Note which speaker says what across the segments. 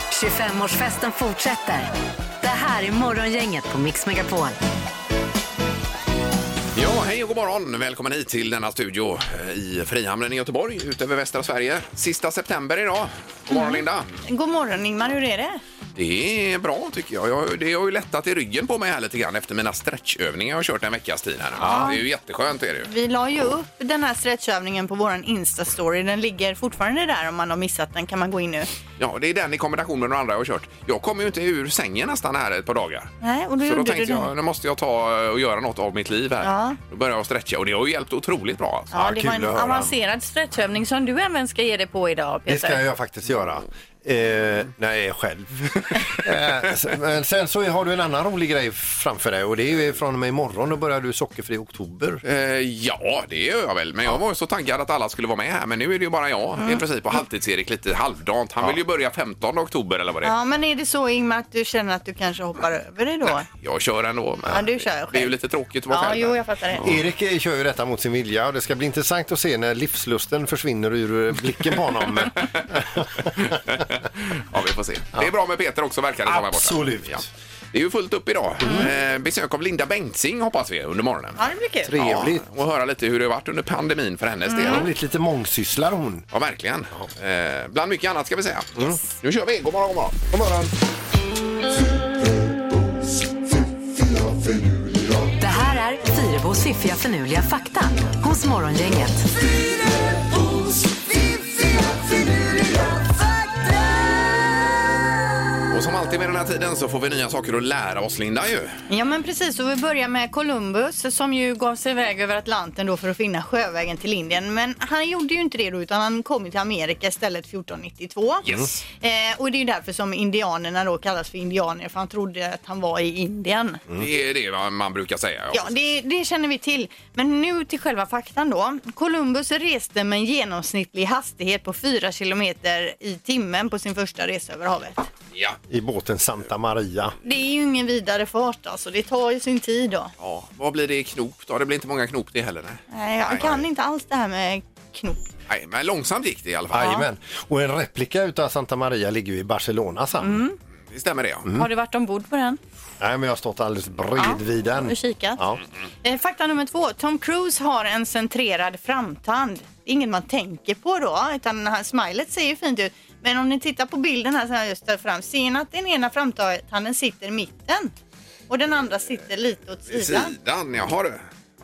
Speaker 1: 25-årsfesten fortsätter. Det här är Morgongänget på Mix Megapol.
Speaker 2: Ja, hej och god morgon. Välkommen hit till denna studio eh, i Frihamnen i Göteborg utöver västra Sverige. Sista september idag. God morgon Linda.
Speaker 3: God morgon Ingmar, hur är det?
Speaker 2: Det är bra tycker jag. jag. Det har ju lättat i ryggen på mig här lite grann efter mina stretchövningar jag har kört en veckas tid här. Det är ju jätteskönt är det ju.
Speaker 3: Vi la ju upp den här stretchövningen på våran Insta-story. Den ligger fortfarande där om man har missat den kan man gå in nu.
Speaker 2: Ja, det är den i kombination med de andra jag har kört. Jag kommer ju inte ur sängen nästan här ett par dagar.
Speaker 3: Nej, och då
Speaker 2: Så då
Speaker 3: gjorde du
Speaker 2: tänkte
Speaker 3: den.
Speaker 2: jag, nu måste jag ta och göra något av mitt liv här.
Speaker 3: Ja.
Speaker 2: Då började jag stretcha och det har ju hjälpt otroligt bra. Alltså.
Speaker 3: Ja, det
Speaker 4: kul
Speaker 3: var en
Speaker 4: att höra.
Speaker 3: avancerad stretchövning som du även ska ge dig på idag
Speaker 4: Det ska
Speaker 3: Peter.
Speaker 4: jag faktiskt göra. Eh, nej, själv. eh, s- men sen så har du en annan rolig grej framför dig och det är ju från och med imorgon. Då börjar du sockerfri oktober.
Speaker 2: Eh, ja, det gör jag väl. Men jag var ju så taggad att alla skulle vara med här. Men nu är det ju bara jag
Speaker 3: Mm.
Speaker 2: i princip. Och halvtids-Erik lite halvdant. Han vill ju börja 15 oktober eller vad det är.
Speaker 3: Ja, men är det så Ingmar att du känner att du kanske hoppar över det då?
Speaker 2: Jag kör ändå. Men
Speaker 3: Ja, du kör själv.
Speaker 2: Det är ju lite tråkigt att vara
Speaker 3: Ja,
Speaker 2: själv.
Speaker 3: jo, jag fattar det.
Speaker 4: Erik eh, kör ju detta mot sin vilja och det ska bli intressant att se när livslusten försvinner ur eh, blicken på honom.
Speaker 2: ja, vi får se. Det är bra med Peter också verkar det som här borta.
Speaker 4: Absolut.
Speaker 2: Ja. Det är ju fullt upp idag. Eh, besök av Linda Bengtzing hoppas vi under morgonen.
Speaker 3: Ja, det blir kul.
Speaker 4: Trevligt. Mm.
Speaker 2: Ja, och höra lite hur det har varit under pandemin för hennes
Speaker 4: Hon har
Speaker 2: del.
Speaker 4: blivit lite mångsysslare hon.
Speaker 2: Ja, verkligen. Eh, bland mycket annat ska vi säga. Nu kör vi. God morgon, god morgon.
Speaker 4: God morgon.
Speaker 1: Det här är Fyrabos fiffiga förnuliga fakta hos Morgongänget.
Speaker 2: Och som alltid med den här tiden så får vi nya saker att lära oss, Linda ju.
Speaker 3: Ja men precis, och vi börjar med Columbus som ju gav sig iväg över Atlanten då för att finna sjövägen till Indien. Men han gjorde ju inte det då utan han kom ju till Amerika istället 1492.
Speaker 2: Yes.
Speaker 3: Eh, och det är ju därför som indianerna då kallas för indianer för han trodde att han var i Indien.
Speaker 2: Det är det man- man brukar säga.
Speaker 3: Ja, det, det känner vi till. Men nu till själva faktan då. Columbus reste med en genomsnittlig hastighet på 4 kilometer i timmen på sin första resa över havet.
Speaker 2: ja.
Speaker 4: I båten Santa Maria.
Speaker 3: Det är ju ingen vidare fart alltså, det tar ju sin tid då.
Speaker 2: Ja, vad blir det i knop då? Det blir inte många knop det heller. Nej,
Speaker 3: Nej, jag kan inte alls det här med knop.
Speaker 2: nej men långsamt gick det i alla fall.
Speaker 4: Jajamän. Och en replika utav Santa Maria ligger ju i Barcelonas hamn.
Speaker 3: Mm.
Speaker 2: Det stämmer det. ja.
Speaker 3: Har du varit ombord på den?
Speaker 4: Nej, men jag har stått alldeles bredvid den.
Speaker 3: Och kikat?
Speaker 4: Ja.
Speaker 3: Eh, Fakta nummer två. Tom Cruise har en centrerad framtand. Det är inget man tänker på då, utan han- smilet ser ju fint ut. Men om ni tittar på bilden här, så här just där fram, ser ni att den ena framtanden sitter i mitten? Och den andra sitter lite åt
Speaker 2: I
Speaker 3: sidan.
Speaker 2: Sidan, jaha du.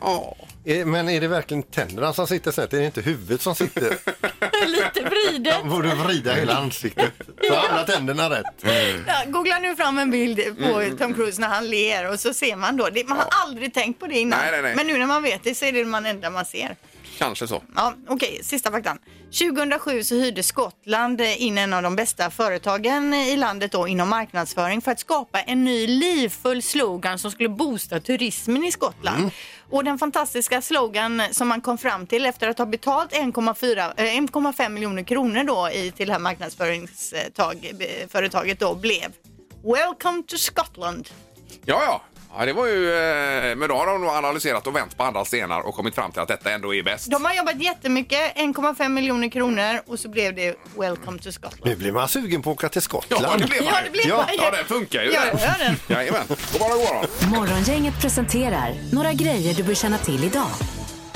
Speaker 2: Ja,
Speaker 4: Eh, Men är det verkligen tänderna som sitter snett? Är det inte huvudet som sitter?
Speaker 3: lite vridet.
Speaker 4: Man borde vrida hela ansiktet. Så hamnar tänderna rätt.
Speaker 3: Ja, Googla nu fram en bild på
Speaker 2: Mm,
Speaker 3: Tom Cruise när han ler och så ser man då. Det, man har aldrig tänkt på det innan.
Speaker 2: Nej, nej, nej.
Speaker 3: Men nu när man vet det så är det man enda man ser.
Speaker 2: kanske så.
Speaker 3: Ja, okej, sista faktan. 2007 så hyrde Skottland in en av de bästa företagen i landet då inom marknadsföring för att skapa en ny livfull slogan som skulle boosta turismen i Skottland. Och den fantastiska slogan som man kom fram till efter att ha betalt 1,4 eh, 1,5 miljoner kronor då i, till det här marknadsföringsföretaget då blev Welcome to Scotland.
Speaker 2: Ja, ja. Ja, det var ju... eh, Men då har de nog analyserat och vänt på andra stenar och kommit fram till att detta ändå är bäst.
Speaker 3: De har jobbat jättemycket, 1,5 miljoner kronor och så blev det Welcome to Scotland.
Speaker 4: Nu blir man sugen på att åka till
Speaker 2: Ja,
Speaker 4: Skottland.
Speaker 2: det blev
Speaker 3: Ja, det blev
Speaker 2: ja.
Speaker 3: man ju.
Speaker 2: ja, den funkar ju.
Speaker 3: Ja,
Speaker 2: den.
Speaker 3: jag hör den.
Speaker 2: Jajamän. God morgon, god morgon.
Speaker 1: Morgongänget presenterar några grejer du bör känna till idag.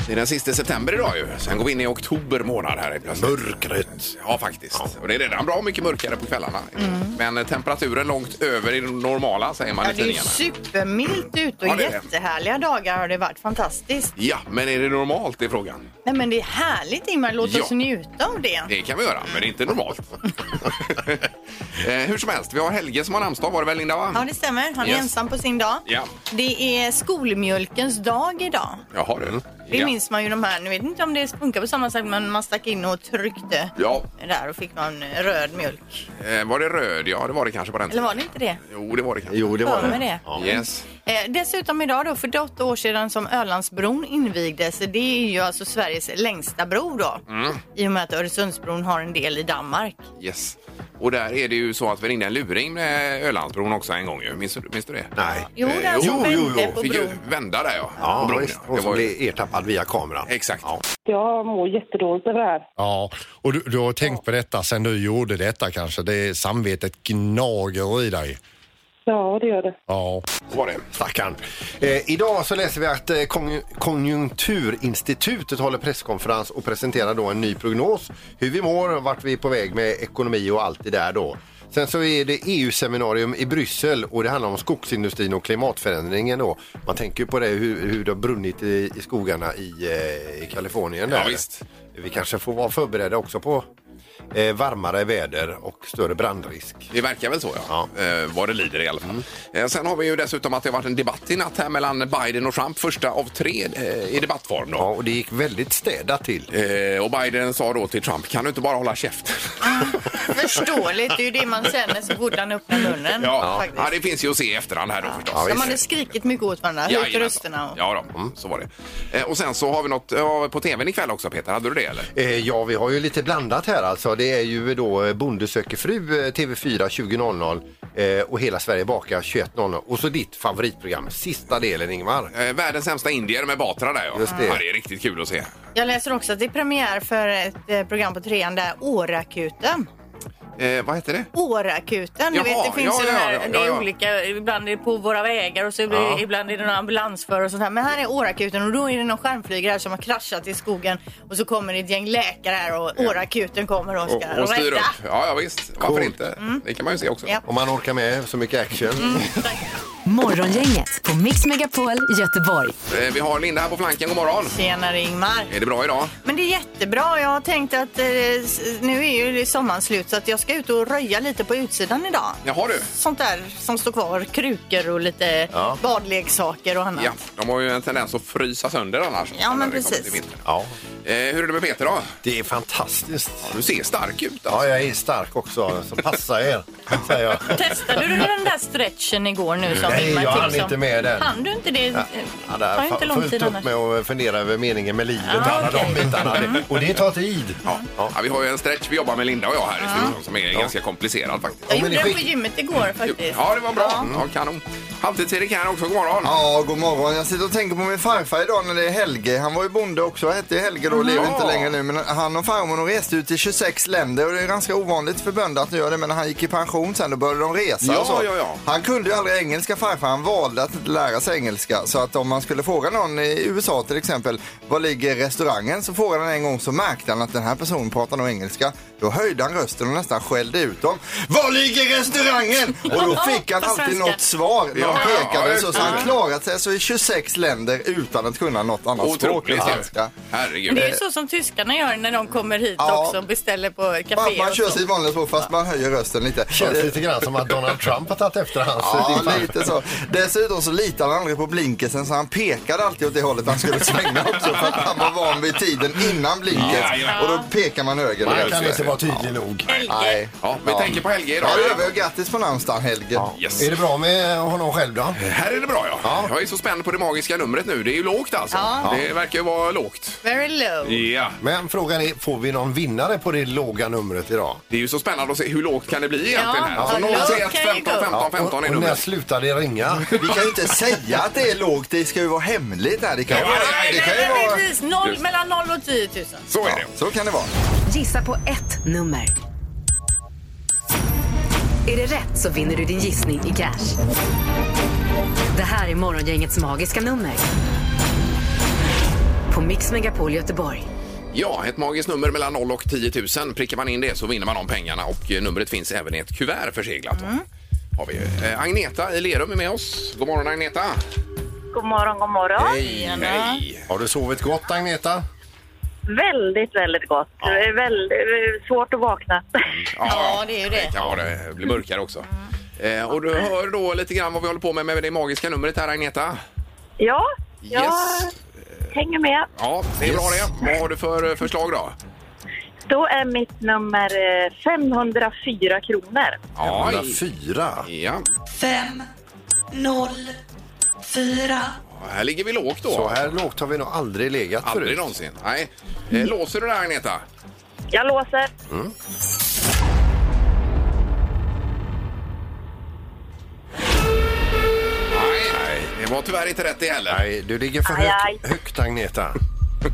Speaker 2: Det är den sista september idag ju. Sen går vi in i oktober månad här helt plötsligt.
Speaker 4: Mörkret.
Speaker 2: Ja, faktiskt. Och det är redan bra mycket mörkare på kvällarna. Men eh, temperaturen långt över i det normala säger man
Speaker 3: Ja,
Speaker 2: i
Speaker 3: det är ju
Speaker 2: tidningarna.
Speaker 3: supermilt ute och
Speaker 2: Ja, det är det.
Speaker 3: jättehärliga dagar har det varit. Fantastiskt.
Speaker 2: Ja, men är det normalt det är frågan?
Speaker 3: Nej, men det är härligt Ingmar. Låt
Speaker 2: Ja.
Speaker 3: oss njuta av det.
Speaker 2: Det kan vi göra, men det är inte normalt. eh, hur som helst, vi har Helge som har namnsdag var det väl Linda? Va?
Speaker 3: Ja, det stämmer. Han är
Speaker 2: Yes.
Speaker 3: ensam på sin dag.
Speaker 2: Ja.
Speaker 3: Det är skolmjölkens dag idag.
Speaker 2: Jaha du.
Speaker 3: Det
Speaker 2: ja.
Speaker 3: minns man ju de här. Nu vet inte om det funkar på samma sätt, men man stack in och tryckte
Speaker 2: Ja,
Speaker 3: där och fick man röd mjölk.
Speaker 2: eh, var det röd? Ja, det var det kanske på den
Speaker 3: Eller
Speaker 2: tiden.
Speaker 3: var det inte det?
Speaker 2: Jo, det var det kanske.
Speaker 4: Jo, det var
Speaker 3: För
Speaker 4: det.
Speaker 3: med det.
Speaker 4: Ja.
Speaker 2: Yes.
Speaker 3: Eh, dessutom idag då, för åtta år sedan som Ölandsbron invigdes. Det är ju alltså
Speaker 2: Mm.
Speaker 3: Sveriges längsta bro då. I och med att Öresundsbron har en del i Danmark.
Speaker 2: yes. Och där är det ju så att vi ringde en luring med Ölandsbron också en gång ju. Minns, du- minns du det?
Speaker 4: Nej.
Speaker 3: Jo,
Speaker 2: Eh,
Speaker 3: den som
Speaker 4: jo, jo,
Speaker 3: vände
Speaker 4: jo,
Speaker 3: på
Speaker 2: Fick ju
Speaker 3: bron.
Speaker 2: vända där ja. på
Speaker 4: Ja,
Speaker 2: bron,
Speaker 4: visst.
Speaker 2: ja.
Speaker 4: Och
Speaker 2: Det
Speaker 4: så
Speaker 2: var ju-
Speaker 4: blir ertappad via kameran.
Speaker 2: Exakt.
Speaker 4: Ja.
Speaker 5: Jag mår jättedåligt över det här.
Speaker 6: Ja, och du, du har tänkt på detta sen du gjorde detta kanske? Det är samvetet gnager i dig.
Speaker 5: Ja, det gör det.
Speaker 6: Ja.
Speaker 2: Så var det.
Speaker 4: Stackarn. Eh, idag så läser vi att eh, konju- Konjunkturinstitutet håller presskonferens och presenterar då en ny prognos. Hur vi mår, vart vi är på väg med ekonomi och allt det där då. Sen så är det EU-seminarium i Bryssel och det handlar om skogsindustrin och klimatförändringen då. Man tänker ju på det hur, hur det har brunnit i, i skogarna i, eh, i Kalifornien där.
Speaker 2: Ja, visst.
Speaker 4: Vi kanske får vara förberedda också på eh, varmare väder och större brandrisk.
Speaker 2: Det verkar väl så, ja. Eh, vad det lider i alla fall. Eh, sen har vi ju dessutom att det har varit en debatt i natt här mellan Biden och Trump. Första av tre eh, i debattform då.
Speaker 4: Ja, och det gick väldigt städat till.
Speaker 2: Eh, och Biden sa då till Trump, kan du inte bara hålla käften?
Speaker 3: Förståeligt, det är ju det man känner så fort han öppnar munnen.
Speaker 2: ja.
Speaker 3: faktiskt.
Speaker 2: ja, det finns ju att se i efterhand här då förstås.
Speaker 4: Ja,
Speaker 3: De hade skrikit mycket åt varandra, höjt
Speaker 2: Jajamensan.
Speaker 3: rösterna. Och...
Speaker 2: Ja, då,
Speaker 4: Mm.
Speaker 2: så var det. Eh, och sen så har vi något eh, på tvn ikväll också Peter, hade du det eller?
Speaker 4: Eh, Ja, vi har ju lite blandat här alltså. Det är ju då eh, Bonde söker fru, eh, TV4 20.00 eh, och Hela Sverige bakar 21.00. Och så ditt favoritprogram, sista delen Ingmar.
Speaker 2: Eh, världens sämsta indier med Batra där ja.
Speaker 4: Just det.
Speaker 2: ja. Det är riktigt kul att se.
Speaker 3: Jag läser också att det är premiär för ett eh, program på trean där, Årakuten.
Speaker 2: Eh, vad heter det?
Speaker 3: Årakuten,
Speaker 2: Jaha,
Speaker 3: du vet det finns
Speaker 2: ja,
Speaker 3: ju de här,
Speaker 2: ja, ja,
Speaker 3: det är
Speaker 2: ja, ja.
Speaker 3: olika, ibland är det på våra vägar och så blir,
Speaker 4: Ja.
Speaker 3: ibland är det någon ambulansförare och sånt här. Men här är Årakuten och då är det någon skärmflygare här som har kraschat i skogen och så kommer det ett gäng läkare här och Årakuten kommer och ska
Speaker 2: och styr upp.
Speaker 3: rädda. Mm.
Speaker 2: Ja, ja visst. Varför inte? Det kan man ju se också.
Speaker 3: Ja.
Speaker 4: Om man orkar med så mycket action.
Speaker 3: Mm.
Speaker 1: Morgongänget på Mix Megapol Göteborg.
Speaker 2: Eh, vi har Linda här på flanken, god morgon.
Speaker 3: Tjenare Ingmar!
Speaker 2: Är det bra idag?
Speaker 3: Men det är jättebra. Jag har tänkt att eh, s- nu är ju sommaren slut så att jag ska ut och röja lite på utsidan idag.
Speaker 2: Jaha du.
Speaker 3: Sånt där som står kvar, krukor och lite
Speaker 4: Ja.
Speaker 3: badleksaker och annat.
Speaker 2: Ja, de har ju en tendens att frysa sönder annars.
Speaker 3: Ja, men
Speaker 2: när det kommer
Speaker 3: precis.
Speaker 2: till vintern.
Speaker 4: Ja,
Speaker 2: Eh, hur är det med Peter då?
Speaker 4: det är fantastiskt.
Speaker 2: Du ser stark ut.
Speaker 4: Ja,
Speaker 2: Alltså.
Speaker 4: jag är stark också, så passa er, säger jag.
Speaker 3: Testade du den där stretchen igår nu som
Speaker 4: Nej,
Speaker 3: Ingmar
Speaker 4: jag hann
Speaker 3: tipsade om?
Speaker 4: inte med den.
Speaker 3: Hann du inte det?
Speaker 4: Ja,
Speaker 3: det
Speaker 4: där
Speaker 3: tar ju inte
Speaker 4: fa-
Speaker 3: lång
Speaker 4: fullt
Speaker 3: tid
Speaker 4: upp
Speaker 3: annars.
Speaker 4: med att fundera över meningen med livet och
Speaker 3: Ah,
Speaker 4: alla de
Speaker 3: okej.
Speaker 4: bitarna. Det- Och det tar tid.
Speaker 2: Ja. Ja, vi har ju en stretch vi jobbar med Linda och jag här i studion som är ganska komplicerad faktiskt.
Speaker 3: Jag
Speaker 4: Ja, men
Speaker 3: gjorde
Speaker 4: det
Speaker 3: den
Speaker 4: skick-
Speaker 3: på gymmet igår faktiskt.
Speaker 2: Ja, det var bra. Mm, Ja, kanon. Halvtids-Erik här också, god morgon.
Speaker 7: Ja, god morgon. Jag sitter och tänker på min farfar idag när det är Helge. Han var ju bonde också, han hette ju Helge då och lever inte längre nu. Men han och farmor de reste ut till 26 länder och det är ganska ovanligt för bönder att göra det. Men när han gick i pension sen då började de resa
Speaker 2: Ja,
Speaker 7: och så.
Speaker 2: ja, ja.
Speaker 7: Han kunde ju aldrig engelska farfar, han valde att inte lära sig engelska. Så att om man skulle fråga någon i USA till exempel, var ligger restaurangen? Så frågade han en gång så märkte han att den här personen pratar nog engelska. Då höjde han rösten och nästan skällde ut dem. Var ligger restaurangen? Och då fick han
Speaker 3: På
Speaker 7: alltid
Speaker 3: svenska.
Speaker 7: något svar när
Speaker 2: Ja,
Speaker 7: de pekade
Speaker 2: ja,
Speaker 7: så. Så han klarat sig så i 26 länder utan att kunna något annat språk än
Speaker 2: Otroligt ju.
Speaker 7: svenska.
Speaker 2: Herregud.
Speaker 3: Men det är ju så som tyskarna gör när de kommer hit
Speaker 7: Ja.
Speaker 3: också och beställer på
Speaker 7: Man,
Speaker 3: café.
Speaker 7: man
Speaker 3: och
Speaker 7: kör
Speaker 3: så.
Speaker 7: sitt vanliga språk fast man höjer rösten lite.
Speaker 4: Känns
Speaker 7: Eh,
Speaker 4: lite grann som att Donald Trump har tagit efter hans eh, din
Speaker 7: Ja,
Speaker 4: farfar.
Speaker 7: lite så. Dessutom så litade han aldrig på blinkersen så han pekade alltid åt det hållet han skulle svänga också för att han var van vid tiden innan blinkers.
Speaker 2: Jajamän.
Speaker 7: Och då pekar man höger.
Speaker 4: Man
Speaker 7: och
Speaker 4: kan
Speaker 7: vänster.
Speaker 4: inte vara tydlig nog.
Speaker 7: Nej.
Speaker 2: Ja, vi tänker på Helge idag.
Speaker 7: Ja, det gör vi. Och Grattis på namnsdagen Helge.
Speaker 2: Yes.
Speaker 4: Är det bra med honom själv då?
Speaker 2: Här är det bra ja. Jag är så spänd på det magiska numret nu. Det är ju lågt alltså.
Speaker 3: Ja.
Speaker 2: Det verkar ju vara lågt.
Speaker 3: Very low.
Speaker 2: Ja.
Speaker 4: Men frågan är, får vi någon vinnare på det låga numret idag?
Speaker 2: Det är ju så spännande att se hur lågt kan det bli egentligen här. Alltså,
Speaker 3: Ja,
Speaker 2: Så
Speaker 3: ja,
Speaker 2: 0,
Speaker 3: lågt kan
Speaker 2: 31,
Speaker 3: det
Speaker 2: 15,
Speaker 3: gå.
Speaker 2: 15, 15
Speaker 4: och,
Speaker 2: är
Speaker 4: och när
Speaker 2: numret.
Speaker 4: slutar det ringa?
Speaker 7: Vi kan ju inte säga att det är lågt. Det ska ju vara hemligt här. Det kan ju
Speaker 2: Ja,
Speaker 7: vara...
Speaker 2: nej,
Speaker 7: Det kan ju
Speaker 3: Nej,
Speaker 7: vara...
Speaker 3: precis. Noll,
Speaker 2: Just.
Speaker 3: mellan 0 och 10 000.
Speaker 2: Så är det.
Speaker 7: Så kan det vara.
Speaker 1: Gissa på ett nummer. Är det rätt så vinner du din gissning i cash. Det här är Morgongängets magiska nummer. På Mix Megapol Göteborg.
Speaker 2: Ja, ett magiskt nummer mellan 0 och 10 000. Prickar man in det så vinner man de pengarna och eh, numret finns även i ett kuvert förseglat.
Speaker 3: Mm.
Speaker 2: då. Har vi. ju. Eh, Agneta i Lerum är med oss. God morgon Agneta!
Speaker 8: God morgon, god morgon.
Speaker 2: Hej! Hej!
Speaker 4: Har du sovit gott Agneta?
Speaker 8: Väldigt, väldigt gott. Det är väldigt svårt att vakna.
Speaker 3: Ja, det är ju det.
Speaker 2: kan vara det. Det blir mörkare också. Eh, och du hör då lite grann vad vi håller på med med det magiska numret här Agneta.
Speaker 8: Ja, jag
Speaker 2: Yes.
Speaker 8: hänger med.
Speaker 2: Ja, det är bra det. Vad har du för eh, förslag då?
Speaker 8: Då är mitt nummer eh, 504 kronor.
Speaker 2: Ja, i-
Speaker 4: Fyra.
Speaker 2: ja.
Speaker 9: fem noll fyra
Speaker 2: Här ligger vi lågt då.
Speaker 4: Så här lågt har vi nog aldrig legat
Speaker 2: Aldrig
Speaker 4: förut.
Speaker 2: någonsin. Nej. Eh, Låser du det här Agneta?
Speaker 8: Jag låser.
Speaker 2: var tyvärr inte rätt det heller.
Speaker 4: Nej, du ligger för
Speaker 8: Aj, aj.
Speaker 4: högt, högt Agneta.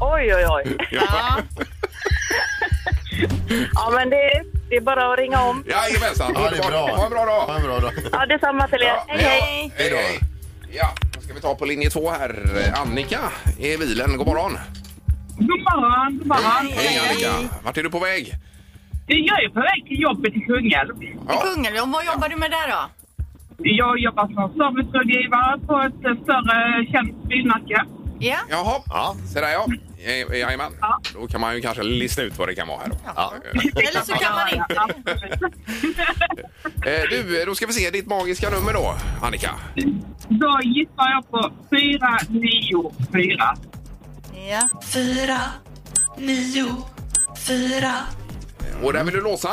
Speaker 8: Oj, oj, oj.
Speaker 2: Ja.
Speaker 8: Ja, men det, det är bara att ringa om.
Speaker 2: Jajamensan,
Speaker 4: Ja, det är
Speaker 2: underbart.
Speaker 4: bra.
Speaker 2: Ha en bra dag.
Speaker 4: Ha en bra dag.
Speaker 8: Ja, detsamma till er.
Speaker 2: Ja,
Speaker 8: Hej, hej.
Speaker 2: Hej då. Ja, då ska vi ta på linje två här. Annika i bilen, god morgon.
Speaker 5: God morgon, god morgon.
Speaker 2: Hej Annika, vart är du på väg?
Speaker 5: Jag är på väg till jobbet i Kungälv.
Speaker 2: Ja,
Speaker 3: Kungälv, och vad jobbar du med där då?
Speaker 5: Jag jobbar som servicerådgivare på ett eh, större känt bilmärke.
Speaker 3: Ja,
Speaker 2: jaha,
Speaker 4: Ja.
Speaker 2: så där ja. Eh, Jajamän, då kan man ju kanske lista ut vad det kan vara här då.
Speaker 4: Ja.
Speaker 3: eller så kan man inte.
Speaker 5: Absolut.
Speaker 2: Eh, Du, eh, då ska vi se ditt magiska nummer då, Annika.
Speaker 5: Då gissar jag på 494.
Speaker 3: Ja.
Speaker 9: fyra, nio, fyra,
Speaker 2: Och där vill du låsa?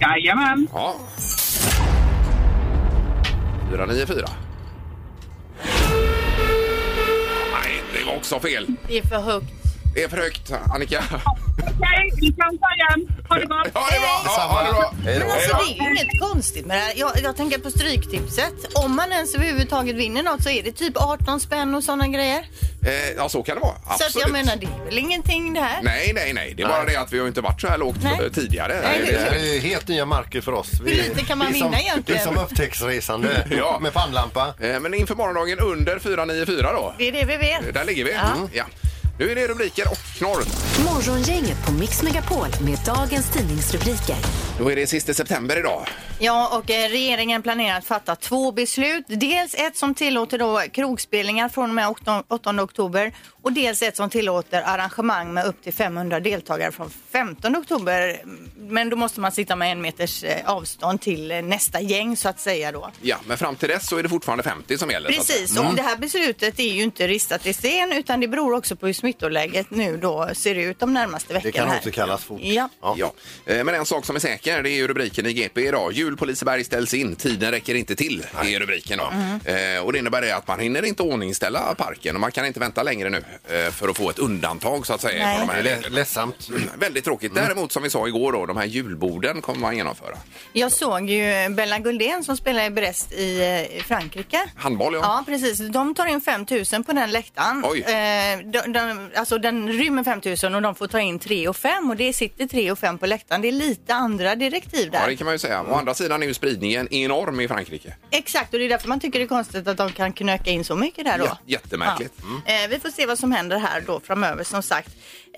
Speaker 5: Jajamän.
Speaker 2: Ja. 494. Nej, det var också fel.
Speaker 3: Det är för högt.
Speaker 2: Det är för högt, Annika.
Speaker 5: Okej, vi kan ta igen. Ha det bra.
Speaker 2: Ja, det är bra! Ja, ha det bra.
Speaker 4: Hej då.
Speaker 3: Men alltså det är ju inget konstigt med det här. Jag, jag tänker på Stryktipset. Om man ens överhuvudtaget vinner något så är det typ 18 spänn och sådana grejer.
Speaker 2: Eh, Ja, så kan det vara. Absolut.
Speaker 3: Så att jag menar, det är väl ingenting det här.
Speaker 2: Nej, nej, nej. Det är bara det att vi har inte varit så här lågt
Speaker 3: Nej.
Speaker 2: eh, tidigare.
Speaker 3: Nej,
Speaker 4: Det här är ju helt nya marker för oss. Vi,
Speaker 3: Hur lite kan man
Speaker 4: vi som,
Speaker 3: vinna egentligen?
Speaker 4: Vi som upptäcksresande
Speaker 2: Ja.
Speaker 4: med pannlampa.
Speaker 2: Eh, Men inför morgondagen under 494 då.
Speaker 3: Det är det vi
Speaker 2: Eh,
Speaker 3: vet.
Speaker 2: Där ligger vi. Mm, Ja. Nu är det rubriker och knorr.
Speaker 1: Morgongänget på Mix Megapol med dagens tidningsrubriker.
Speaker 2: Då är det sista september idag.
Speaker 3: Ja, och eh, regeringen planerar att fatta två beslut. Dels ett som tillåter då krogspelningar från och med 8, 8 oktober och dels ett som tillåter arrangemang med upp till 500 deltagare från 15 oktober. Men då måste man sitta med en meters eh, avstånd till eh, nästa gäng så att säga då.
Speaker 2: Ja, men fram till dess så är det fortfarande 50 som gäller. så att- Mm.
Speaker 3: Precis,
Speaker 4: Mm.
Speaker 3: och det här beslutet är ju inte ristat i sten utan det beror också på hur smittoläget nu då ser ut de närmaste veckorna.
Speaker 4: Det kan
Speaker 3: här.
Speaker 4: återkallas fort.
Speaker 3: Ja.
Speaker 2: Ja. Eh, Men en sak som är säker det är ju rubriken i GP idag. Jul på Liseberg ställs in, tiden räcker inte till. Det är rubriken då.
Speaker 3: Mm.
Speaker 2: Eh, Och det innebär det att man hinner inte ordningställa parken och man kan inte vänta längre nu eh, för att få ett undantag så att säga.
Speaker 3: Nej.
Speaker 2: från de här
Speaker 4: Lä- Ledsamt.
Speaker 2: reglerna. Väldigt tråkigt. Däremot som vi sa igår då, de här julborden kommer man genomföra.
Speaker 3: Jag såg ju Bella Guldén som spelar i Brest i eh, Frankrike.
Speaker 2: Handboll ja.
Speaker 3: Ja, precis. De tar in 5 000 på den läktaren.
Speaker 2: Oj.
Speaker 3: Eh, de, de, alltså den rymmer 5 000 och de får ta in 3 och 5 och det sitter 3 och 5 på läktaren. Det är lite andra direktiv
Speaker 2: Ja,
Speaker 3: där.
Speaker 2: det kan man ju säga. Å andra sidan är ju spridningen enorm i Frankrike.
Speaker 3: Exakt, och det är därför man tycker det är konstigt att de kan knöka in så mycket där då.
Speaker 2: Ja, jättemärkligt. Mm.
Speaker 3: Ja. Eh, vi får se vad som händer här då framöver som sagt.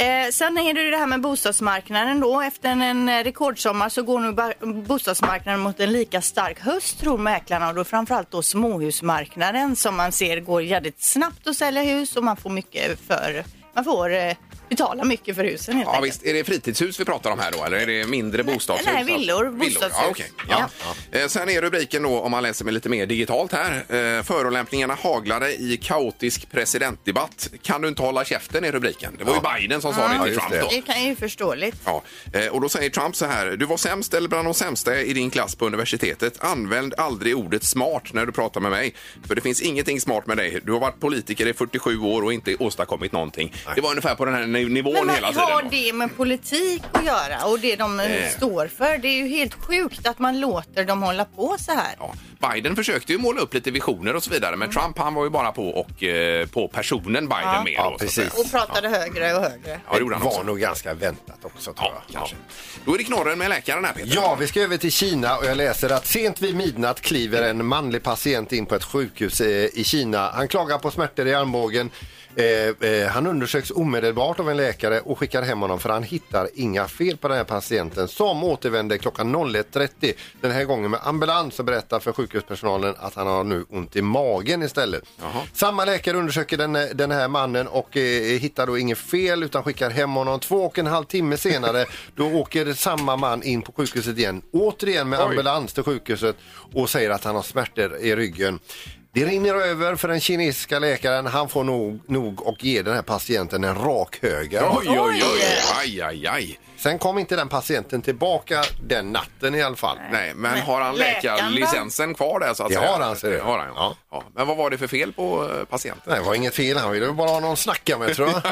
Speaker 3: Eh, sen är det ju det här med bostadsmarknaden då. Efter en, eh, rekordsommar så går nu ba- bostadsmarknaden mot en lika stark höst tror mäklarna och då framförallt då småhusmarknaden som man ser går jävligt snabbt att sälja hus och man får mycket för, man får eh, betala mycket för husen helt
Speaker 2: Ja,
Speaker 3: enkelt.
Speaker 2: visst. Är det fritidshus vi pratar om här då eller är det mindre bostadshus?
Speaker 3: nej, villor, bostadshus.
Speaker 2: Ja, okej. ja. Eh, Sen är rubriken då, om man läser med lite mer digitalt här, eh, förolämpningarna haglade i kaotisk presidentdebatt. Kan du inte hålla käften är rubriken. Det var ju Biden som sa det till
Speaker 4: Ja, just
Speaker 2: Trump då.
Speaker 3: Det kan ju förståeligt.
Speaker 2: Ja, eh, och då säger Trump så här. Du var sämst eller bland de sämsta i din klass på universitetet. Använd aldrig ordet smart när du pratar med mig. För det finns ingenting smart med dig. Du har varit politiker i 47 år och inte åstadkommit någonting. Det var ungefär på den här niv- nivån
Speaker 3: Men
Speaker 2: hela
Speaker 3: vad
Speaker 2: tiden.
Speaker 3: har
Speaker 2: då.
Speaker 3: det med politik att göra och det de eh,
Speaker 2: Eh.
Speaker 3: står för? Det är ju helt sjukt att man låter dem hålla på så här.
Speaker 2: Ja, Biden försökte ju måla upp lite visioner och så vidare men Trump han var ju bara på och eh, på personen Biden
Speaker 3: Ja.
Speaker 2: mer.
Speaker 4: Ja,
Speaker 2: då, så att
Speaker 4: precis.
Speaker 2: säga.
Speaker 3: Och pratade högre och högre.
Speaker 2: Ja, det gjorde han
Speaker 4: var
Speaker 2: också.
Speaker 4: nog ganska väntat också tror
Speaker 2: Ja,
Speaker 4: jag. Kanske.
Speaker 2: ja. Då är det knorren med läkaren här Peter.
Speaker 4: Ja, vi ska över till Kina och jag läser att sent vid midnatt kliver en manlig patient in på ett sjukhus eh, i Kina. Han klagar på smärtor i armbågen. Eh, eh, han undersöks omedelbart av en läkare och skickar hem honom för han hittar inga fel på den här patienten som återvänder klockan 01.30. Den här gången med ambulans och berättar för sjukhuspersonalen att han har nu ont i magen istället. Samma läkare undersöker den, den här mannen och eh, hittar då inget fel utan skickar hem honom. Två och en halv timme senare då åker samma man in på sjukhuset igen. Återigen med ambulans till sjukhuset och säger att han har smärtor i ryggen. Det rinner över för den kinesiska läkaren. Han får nog, nog och ger den här patienten en rak höger.
Speaker 2: Oj, oj, oj, aj, aj, aj.
Speaker 4: Sen kom inte den patienten tillbaka den natten i alla fall.
Speaker 2: Nej, men
Speaker 3: Men
Speaker 2: har han
Speaker 3: läkaren då?
Speaker 2: läkarlicensen kvar där så att
Speaker 4: Det
Speaker 2: säga?
Speaker 4: har han, ser du.
Speaker 2: Det har han, ja. ja. Men vad var det för fel på eh, patienten?
Speaker 4: Nej, det var inget fel. Han ville bara ha någon att snacka med tror jag.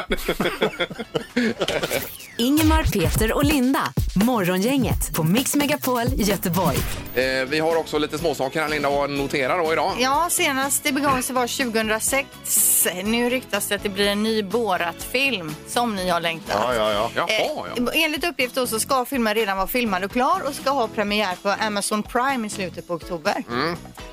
Speaker 1: Ingemar, Peter och Linda. Morgongänget på Mix Megapol Göteborg.
Speaker 2: Eh, vi har också lite småsaker här Linda att notera då idag.
Speaker 3: Ja, senast det begav sig var 2006. Nu ryktas det att det blir en ny Borat-film som ni har längtat.
Speaker 4: Ja, ja, ja.
Speaker 2: Jaha, ja.
Speaker 3: Eh, Enligt uppgift då så ska filmen redan vara filmad och klar och ska ha premiär på Amazon Prime i slutet på oktober.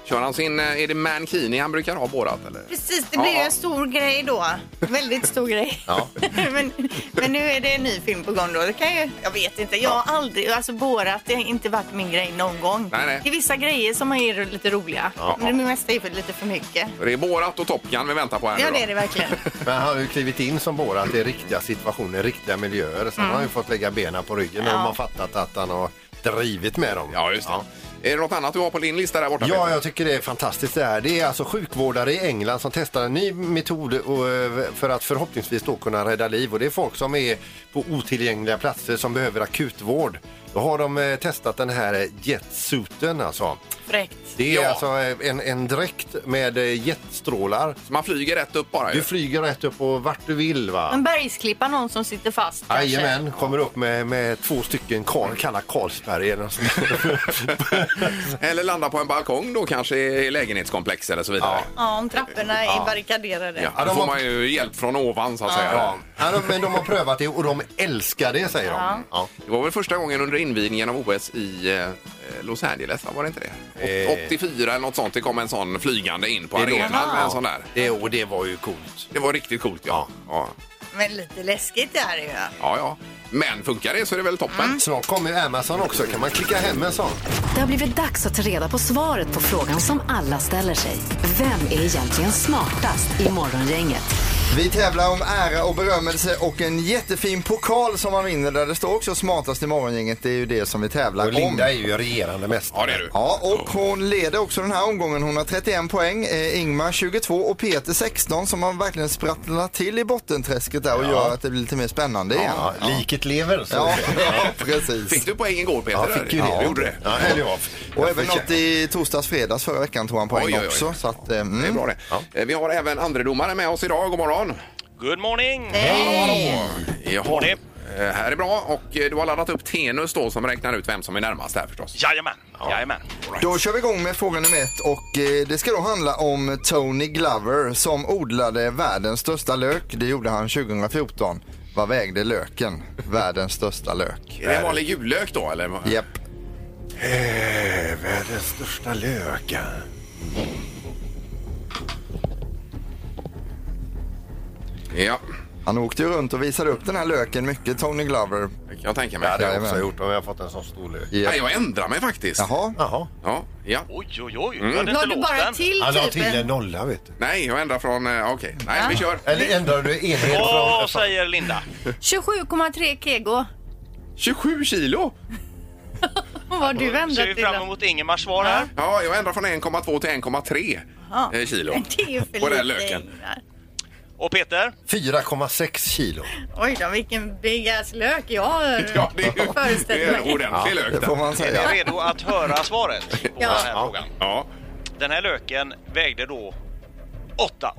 Speaker 2: Kör han sin, eh, är det mankini han brukar ha borat eller?
Speaker 3: Precis, det blir ju
Speaker 2: Ja.
Speaker 3: en stor grej då. Väldigt stor grej.
Speaker 4: Ja.
Speaker 3: men, men nu är det en ny film på gång då. Det kan ju, jag vet inte, jag har aldrig, alltså Borat det har inte varit min grej någon gång.
Speaker 2: Nej, nej.
Speaker 3: Det är vissa grejer som är lite roliga, men det mesta är för lite för mycket.
Speaker 2: Det är Borat och Top Gun vi väntar på här
Speaker 3: Ja,
Speaker 2: nu då.
Speaker 3: det är det verkligen.
Speaker 4: Men han har ju klivit in som Borat i riktiga situationer, riktiga miljöer. Sen har han ju
Speaker 2: Mm.
Speaker 4: fått lägga benen på ryggen och
Speaker 3: Ja.
Speaker 4: man har fattat att han har drivit med dem.
Speaker 2: Ja, just det. Är det något annat du har på din lista där borta?
Speaker 4: Ja,
Speaker 2: Peter?
Speaker 4: jag tycker det är fantastiskt det här. Det är alltså sjukvårdare i England som testar en ny metod och, eh, för att förhoppningsvis då kunna rädda liv. Och det är folk som är på otillgängliga platser som behöver akutvård. Då har de eh, testat den här eh, jetsuiten alltså.
Speaker 3: Fräckt.
Speaker 4: Det är
Speaker 2: Ja.
Speaker 4: alltså eh, en, en dräkt med eh, jetstrålar.
Speaker 2: Så man flyger rätt upp bara
Speaker 4: Du
Speaker 2: ju.
Speaker 4: flyger rätt upp och vart du vill va?
Speaker 3: En bergsklippa, någon som sitter fast kanske.
Speaker 4: Jajamän, kommer upp med, med två stycken karl, kalla Carlsberg eller något sånt.
Speaker 2: Eller landa på en balkong då kanske i lägenhetskomplex eller så vidare.
Speaker 3: Ja, om trapporna är barrikaderade.
Speaker 2: Ja, då
Speaker 4: de
Speaker 2: får
Speaker 4: har-
Speaker 2: man ju hjälp från ovan så att säga.
Speaker 4: ja. Ja, de- men de har prövat det och de älskar det säger de. Ja.
Speaker 2: Det var väl första gången under invigningen av OS i eh, Los Angeles, va? var det inte det? Åt-
Speaker 4: Eh.
Speaker 2: 84 eller något sånt, det kom en sån flygande in på
Speaker 4: Det låter-
Speaker 2: arenan med en sån där.
Speaker 4: Det, och det var ju coolt.
Speaker 2: Det var riktigt coolt ja. Ja,
Speaker 3: Men lite läskigt det här är ju.
Speaker 2: ja. ja. Men funkar det så är det väl toppen.
Speaker 4: Snart kommer ju Amazon också, kan man klicka hem en sån?
Speaker 1: Det har blivit dags att ta reda på svaret på frågan som alla ställer sig. Vem är egentligen smartast i Morgongänget?
Speaker 7: Vi tävlar om ära och berömmelse och en jättefin pokal som man vinner där det står också smartast i morgongänget. Det är ju det som vi tävlar
Speaker 4: Och Linda
Speaker 7: om.
Speaker 4: är ju regerande mästare.
Speaker 2: Ja, det är du.
Speaker 7: Ja, och hon leder också den här omgången. Hon har 31 poäng, eh, Ingmar 22 och Peter 16 som har verkligen sprattlat till i bottenträsket där och gör att det blir lite mer spännande igen.
Speaker 4: Ja, liket lever. Så.
Speaker 7: Ja, ja, precis.
Speaker 2: Fick du poäng igår Peter?
Speaker 4: Ja, fick ju det.
Speaker 2: Ja, du gjorde det.
Speaker 4: Ja, eller jag.
Speaker 7: Och även något i torsdags, fredags förra veckan tog han poäng
Speaker 2: Oj, oj, oj.
Speaker 7: också. Så att, eh, mm.
Speaker 2: Det är bra det. Eh, Vi har även andredomare med oss idag. God morgon!
Speaker 9: Good morning!
Speaker 2: Jaha. Eh, Här är bra och eh, du har laddat upp Tenus då som räknar ut vem som är närmast här förstås.
Speaker 9: Jajamän, jajamän.
Speaker 7: Då kör vi igång med fråga nummer ett och eh, det ska då handla om Tony Glover som odlade världens största lök. Det gjorde han 2014. Vad vägde löken? Världens största lök.
Speaker 2: Är det en vanlig jullök då eller?
Speaker 7: Japp.
Speaker 4: Världens största lökar.
Speaker 2: Ja,
Speaker 7: Han åkte ju runt och visade upp den här löken mycket, Tony Glover.
Speaker 2: det kan jag tänka
Speaker 4: Det
Speaker 2: mig.
Speaker 4: hade jag också
Speaker 7: Jajamän.
Speaker 4: gjort om jag hade fått en sån stor lök.
Speaker 7: Japp.
Speaker 2: Nej, jag ändrar mig faktiskt.
Speaker 7: Jaha.
Speaker 4: Jaha.
Speaker 2: Ja, ja.
Speaker 9: Oj, oj, oj. Jag hade
Speaker 3: La
Speaker 9: inte
Speaker 3: du
Speaker 9: låst
Speaker 3: bara
Speaker 9: den.
Speaker 3: till typ
Speaker 4: Han la till
Speaker 3: typen?
Speaker 4: Typ en nolla vet du.
Speaker 2: Nej, jag ändrar från... eh, Okej, nej vi kör.
Speaker 4: Eller ändrar du enhet från...
Speaker 9: Vad säger Linda?
Speaker 3: 27,3 kego.
Speaker 2: 27 kilo!
Speaker 3: Vad har du
Speaker 9: Ser
Speaker 3: ändrat
Speaker 9: vi
Speaker 3: till
Speaker 9: fram
Speaker 3: då?
Speaker 9: emot Ingemars svar här?
Speaker 2: Ja, jag ändrar från 1,2 till 1,3
Speaker 3: Ja.
Speaker 2: eh, kilo.
Speaker 3: Det är ju för
Speaker 2: På den här
Speaker 3: lite,
Speaker 2: löken.
Speaker 3: Ingmar.
Speaker 9: Och Peter?
Speaker 4: 4,6 kilo.
Speaker 3: Oj då, vilken big ass lök jag har
Speaker 2: Ja, det är, ju, det
Speaker 3: föreställt
Speaker 2: är en
Speaker 3: mig.
Speaker 2: ordentlig lök
Speaker 7: Det får
Speaker 2: där.
Speaker 7: man
Speaker 9: Är ni
Speaker 7: säga.
Speaker 9: redo att höra svaret på
Speaker 3: Ja.
Speaker 9: den här frågan?
Speaker 2: Ja,
Speaker 9: Den här löken vägde då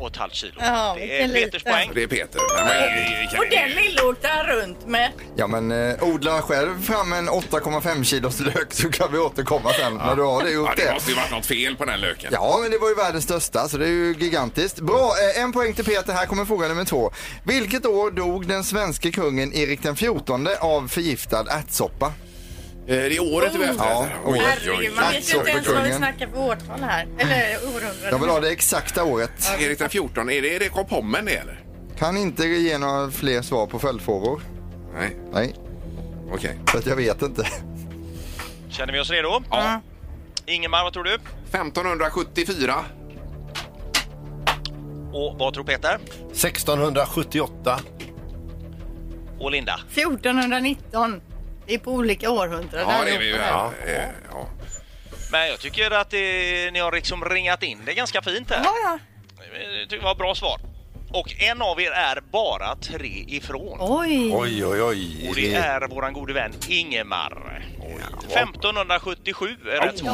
Speaker 9: 8,5 kilo.
Speaker 3: Ja,
Speaker 9: det är
Speaker 3: vilken
Speaker 9: Peters
Speaker 3: liten.
Speaker 9: poäng.
Speaker 2: det är Peter. Nej,
Speaker 7: Eh,
Speaker 2: men-
Speaker 3: Och den lilla åkte han runt med.
Speaker 7: Ja men eh, odla själv fram en 8,5 kilos lök så kan vi återkomma sen när du har det
Speaker 2: Ja,
Speaker 7: gjort
Speaker 2: det
Speaker 7: det.
Speaker 2: måste ju varit något fel på den löken.
Speaker 7: Ja, men det var ju världens största, så det är ju gigantiskt. Bra, eh, en poäng till Peter. Här kommer fråga nummer två. Vilket år dog den svenske kungen Erik den XIV av förgiftad ärtsoppa?
Speaker 2: Eh, Det är året vi är efter.
Speaker 7: Ja,
Speaker 2: Oj, oj,
Speaker 3: Oh. Herregud, man
Speaker 2: oj.
Speaker 3: vet ju inte ens vad vi
Speaker 7: Sopperkungen.
Speaker 3: snackar för årtal här. Eller
Speaker 7: Jag vill
Speaker 3: århundrade.
Speaker 7: ha det exakta året.
Speaker 2: Erik den 14, är det Erik av Pommen det eller?
Speaker 7: Kan inte ge några fler svar på följdfrågor.
Speaker 2: Nej,
Speaker 7: Nej,
Speaker 2: okej.
Speaker 7: för att jag vet inte.
Speaker 9: Känner vi oss redo?
Speaker 2: Ja.
Speaker 9: Ingemar, vad tror du?
Speaker 2: 1574.
Speaker 9: Och vad tror Peter?
Speaker 4: 1678.
Speaker 9: Och Linda?
Speaker 3: 1419. Det är på olika århundraden.
Speaker 2: Ja, det är vi ju här.
Speaker 4: Ja.
Speaker 2: Eh, Ja.
Speaker 9: Men jag tycker att det, ni har liksom ringat in det ganska fint här.
Speaker 3: Ja, ja.
Speaker 9: Jag tycker Det var bra svar. Och en av er är bara tre ifrån.
Speaker 3: Oj!
Speaker 4: Oj, oj, oj.
Speaker 9: Och det är våran gode vän Ingemar. 1577 är rätt svar.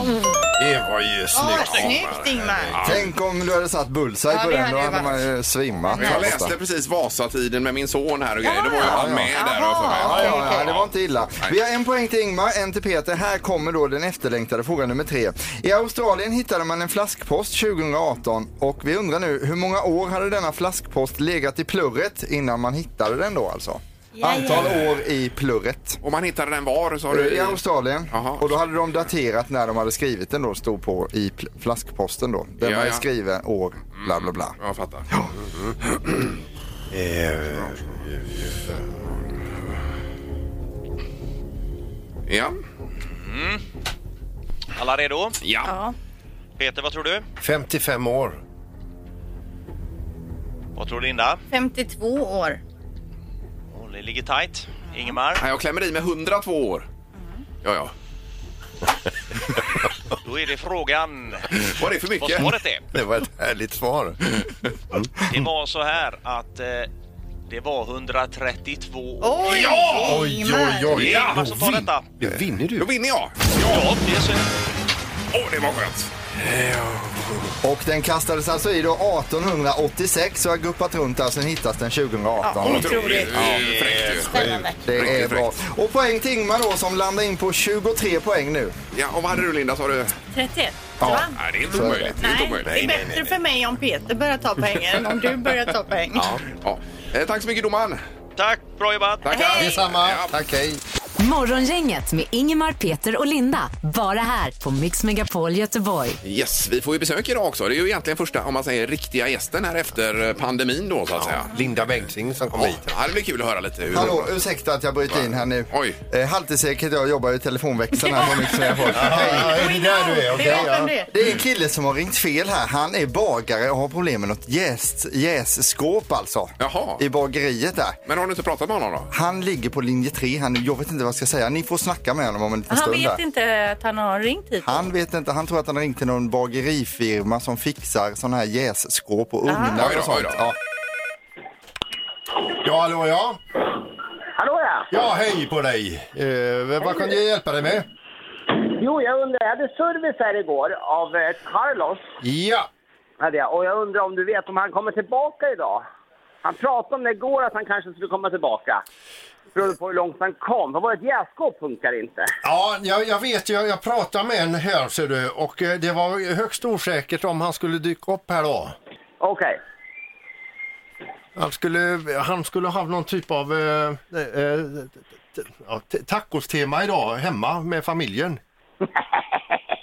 Speaker 4: det var ju
Speaker 3: Ja,
Speaker 4: snyggt.
Speaker 3: snyggt Ingmar!
Speaker 7: Tänk om du hade satt bullseye
Speaker 3: Ja,
Speaker 7: på
Speaker 3: det
Speaker 7: den, då
Speaker 3: hade
Speaker 7: hade
Speaker 3: varit-
Speaker 7: man ju svimmat.
Speaker 2: Jag läste precis Vasatiden med min son här och grejer. Det var ju
Speaker 3: Ja,
Speaker 2: han med där. har jag för mig.
Speaker 7: Ja,
Speaker 3: Okej,
Speaker 7: ja,
Speaker 3: okej.
Speaker 7: ja, det var inte illa.
Speaker 2: Nej.
Speaker 7: Vi har en poäng till Ingmar, en till Peter. Här kommer då den efterlängtade fråga nummer tre. I Australien hittade man en flaskpost 2018 och vi undrar nu hur många år hade denna flaskpost legat i plurret innan man hittade den då alltså? Antal år i plurret.
Speaker 2: Om man hittade den var så har
Speaker 7: eh,
Speaker 2: du...
Speaker 7: I Australien.
Speaker 2: Jaha.
Speaker 7: Och då hade de daterat när de hade skrivit den då, stod på i pl- flaskposten då. Den
Speaker 2: Ja,
Speaker 7: var
Speaker 2: ja. Mm.
Speaker 7: skriven år, bla bla bla.
Speaker 2: Jag fattar.
Speaker 4: Eh,
Speaker 2: Ja.
Speaker 9: Alla redo?
Speaker 2: ja.
Speaker 3: Ja.
Speaker 9: Peter, vad tror du?
Speaker 4: 55 år.
Speaker 9: Vad tror Linda?
Speaker 3: 52 år.
Speaker 9: Oh, det ligger tajt. Ingemar,
Speaker 2: Nej, Jag klämmer i med 102 år. Ja, ja.
Speaker 9: då är det frågan
Speaker 2: Var det för
Speaker 9: vad
Speaker 2: mycket?
Speaker 9: svaret är.
Speaker 4: Det var ett härligt svar.
Speaker 9: Det var så här att eh, det var 132 år.
Speaker 3: Oj!
Speaker 4: Oj,
Speaker 3: Ingmar.
Speaker 4: oj, oj.
Speaker 9: Det är Ingmar som tar
Speaker 4: vin-
Speaker 9: detta.
Speaker 4: Ja, vinner
Speaker 2: Då
Speaker 4: du.
Speaker 2: vinner jag.
Speaker 9: Ja, det är så.
Speaker 2: Åh, det var skönt.
Speaker 7: Och den kastades alltså i då 1886 och har guppat runt där sen hittas den 2018.
Speaker 2: Otroligt. Ja, fräckt ju.
Speaker 3: Spännande.
Speaker 7: Det är
Speaker 2: Riktigt
Speaker 7: bra. Och poäng till Ingmar då som landar in på 23 poäng nu.
Speaker 2: Ja, och vad hade du Linda, sa du?
Speaker 3: 31.
Speaker 7: Ja.
Speaker 3: Va?
Speaker 2: Nej, det är inte omöjligt. Det är inte
Speaker 3: Nej, det är
Speaker 2: omöjligt.
Speaker 3: bättre för mig om Peter börjar ta poäng än om du börjar ta poäng.
Speaker 2: Ja. Eh, Tack så mycket domaren.
Speaker 9: Tack, bra jobbat!
Speaker 2: Tackar.
Speaker 4: Detsamma.
Speaker 2: Ja.
Speaker 4: Tack, hej.
Speaker 1: Morgongänget med Ingemar, Peter och Linda. Bara här på Mix Megapol Göteborg.
Speaker 2: Yes, vi får ju besök idag också. Det är ju egentligen första, om man säger, riktiga gästen här efter eh, pandemin då så att säga.
Speaker 4: alltså. Linda Bengtzing som kom
Speaker 2: Ja,
Speaker 4: hit.
Speaker 2: det blir kul att höra lite hur...
Speaker 7: Hallå, ursäkta att jag bryter in här nu.
Speaker 2: Oj.
Speaker 7: Eh, Halvtids-Erik heter jag jobbar i telefonväxeln här på Mix Megapol.
Speaker 4: Ja,
Speaker 7: Hej.
Speaker 4: är det där du är?
Speaker 3: Vi
Speaker 4: Okej,
Speaker 3: vet
Speaker 4: ja.
Speaker 3: vem det är.
Speaker 7: Det är en kille som har ringt fel här. Han är bagare och har problem med något jäst- jässkåp alltså.
Speaker 2: Jaha.
Speaker 7: I bageriet där.
Speaker 2: Men har du inte pratat med honom då?
Speaker 7: Han ligger på linje 3 här nu. Jag vet inte vad jag ska säga. Ni får snacka med honom om en liten
Speaker 10: Han
Speaker 7: stund
Speaker 10: vet
Speaker 7: där.
Speaker 10: inte att han har ringt hit.
Speaker 7: Han vet inte, han tror att han har ringt till någon bagerifirma som fixar sådana här jässkåp och
Speaker 2: Oj
Speaker 7: ugnar
Speaker 2: då,
Speaker 7: och sånt.
Speaker 2: oj då.
Speaker 7: Ja.
Speaker 4: Ja, hallå ja.
Speaker 5: Hallå ja!
Speaker 4: Ja, hej på dig. Eh, vad kan jag hjälpa dig med?
Speaker 5: Jo, jag undrar, jag hade service här igår av eh, Carlos.
Speaker 4: Ja.
Speaker 5: Hade jag, och jag undrar om du vet om han kommer tillbaka idag? Han pratade om det igår att han kanske skulle komma tillbaka. Beroende på hur långt han kom. För vårt jässkåp funkar inte.
Speaker 4: Ja, jag, jag vet ju. Jag, jag pratade med en här ser du och eh, det var högst osäkert om han skulle dyka upp här då.
Speaker 5: Okej.
Speaker 4: Han skulle, han skulle ha någon typ av eh, eh, t- ja, t- tacostema idag hemma med familjen.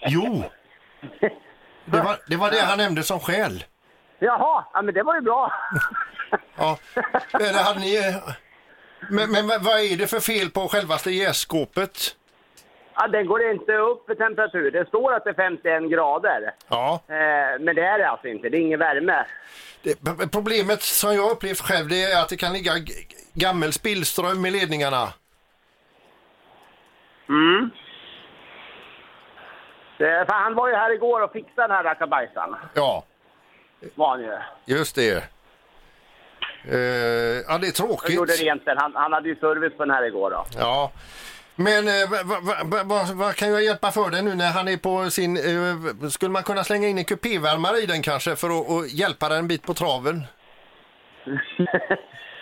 Speaker 4: Jo. Det var, det var det han nämnde som skäl.
Speaker 5: Jaha, ja, men det var ju bra.
Speaker 4: Ja. Eller hade ni... eh, Men, men vad vad är det för fel på självaste jässkåpet?
Speaker 5: Ja, den går inte upp i temperatur. Det står att det är 51 grader.
Speaker 4: Ja.
Speaker 5: Eh, men det är det alltså inte. Det är ingen värme.
Speaker 4: Det, p- p- problemet som jag upplevt själv det är att det kan ligga g- g- gammel spillström i ledningarna.
Speaker 5: Eh, för han var ju här igår och fixade den här rackabajsan.
Speaker 4: Ja,
Speaker 5: Var han ju.
Speaker 4: just det. Eh, ja, det är
Speaker 5: Och gjorde
Speaker 4: tråkigt.
Speaker 5: rent den. Han, han hade ju service på den här igår då.
Speaker 4: Ja. Men eh, vad va, va, va, vad kan jag hjälpa för dig nu när han är på sin... Eh, skulle man kunna slänga in en kupévärmare i den kanske för att att hjälpa den en bit på traven?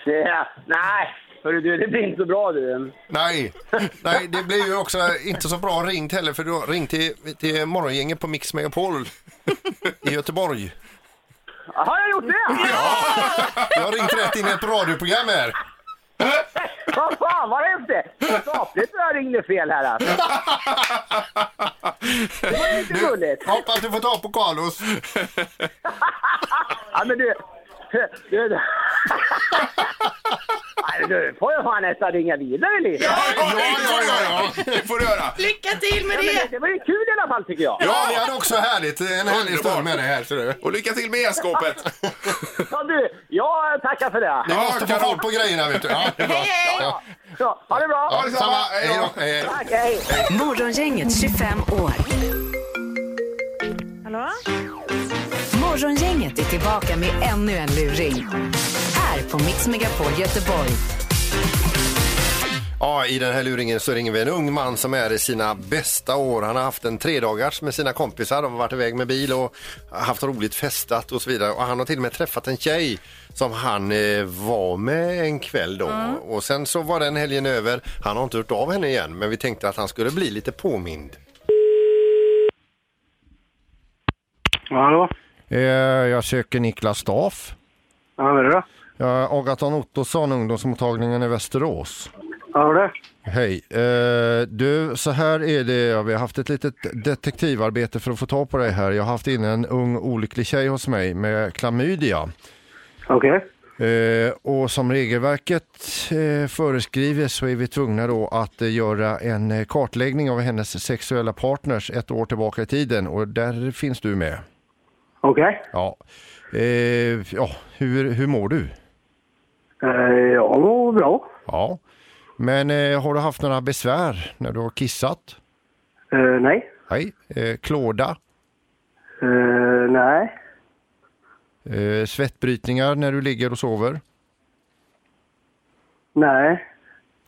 Speaker 5: Det, nej, hörru du, det blir inte så bra du.
Speaker 4: Nej, nej det blir ju också inte så bra ringt heller för du har ringt till, till morgongänget på Mix Megapol i Göteborg.
Speaker 5: Har jag gjort det?
Speaker 4: Jag har ringt rätt in i ett radioprogram här.
Speaker 5: Vad fan vad häftigt! Skapligt när jag ringde fel här alltså. Det var ju inte gulligt.
Speaker 4: Hoppas du får ta på Carlos.
Speaker 5: Ja men du. du, du. Nej, du får ju fan nästan ringa vidare lite.
Speaker 2: Ja, ja, ja, ja, ja. det får du göra.
Speaker 3: Lycka till med
Speaker 5: Men det,
Speaker 3: det!
Speaker 5: det var ju kul i alla fall tycker jag.
Speaker 4: Ja, vi hade också härligt. En härlig stund med det här. ser du.
Speaker 2: Och lycka till med jässkåpet.
Speaker 5: Ja, du, jag tackar för det.
Speaker 4: Ni måste få fart på grejerna vet du. Ja, det är bra.
Speaker 3: Hej, hej!
Speaker 5: Så, ha det bra.
Speaker 4: Ja, samma. Hej då. Hej, hej.
Speaker 5: Tack, hej.
Speaker 1: Morgongänget 25 år.
Speaker 10: Hallå?
Speaker 1: Morgongänget är tillbaka med ännu en luring. Här på Mix Megapol Göteborg.
Speaker 7: Ja, I den här luringen så ringer vi en ung man som är i sina bästa år. Han har haft en tredagars med sina kompisar. De har varit iväg med bil och haft roligt, festat och så vidare. Och han har till och med träffat en tjej som han eh, var med en kväll då. Och sen så var den helgen över. Han har inte hört av henne igen, men vi tänkte att han skulle bli lite påmind.
Speaker 6: Hallå?
Speaker 4: Eh, Jag söker Niklas Staff.
Speaker 6: Ja, vad är det då?
Speaker 4: Jag Agaton Ottosson, ungdomsmottagningen i Västerås.
Speaker 6: Ja, vad är det?
Speaker 4: Hej. Eh, du, så här är det. Ja, Vi har haft ett litet detektivarbete för att få tag på dig här. Jag har haft in en ung olycklig tjej hos mig med klamydia.
Speaker 6: Okej.
Speaker 4: Eh, och som regelverket eh, föreskriver så är vi tvungna då att eh, göra en eh, kartläggning av hennes sexuella partners ett år tillbaka i tiden och där finns du med.
Speaker 6: Okej.
Speaker 4: Ja, eh, ja hur, hur mår du?
Speaker 6: Eh, Ja, vad bra.
Speaker 4: Ja, men eh, har du haft några besvär när du har kissat?
Speaker 6: Eh, nej.
Speaker 4: Nej, eh, klåda?
Speaker 6: Eh, nej.
Speaker 4: Eh, svettbrytningar när du ligger och sover?
Speaker 6: Nej.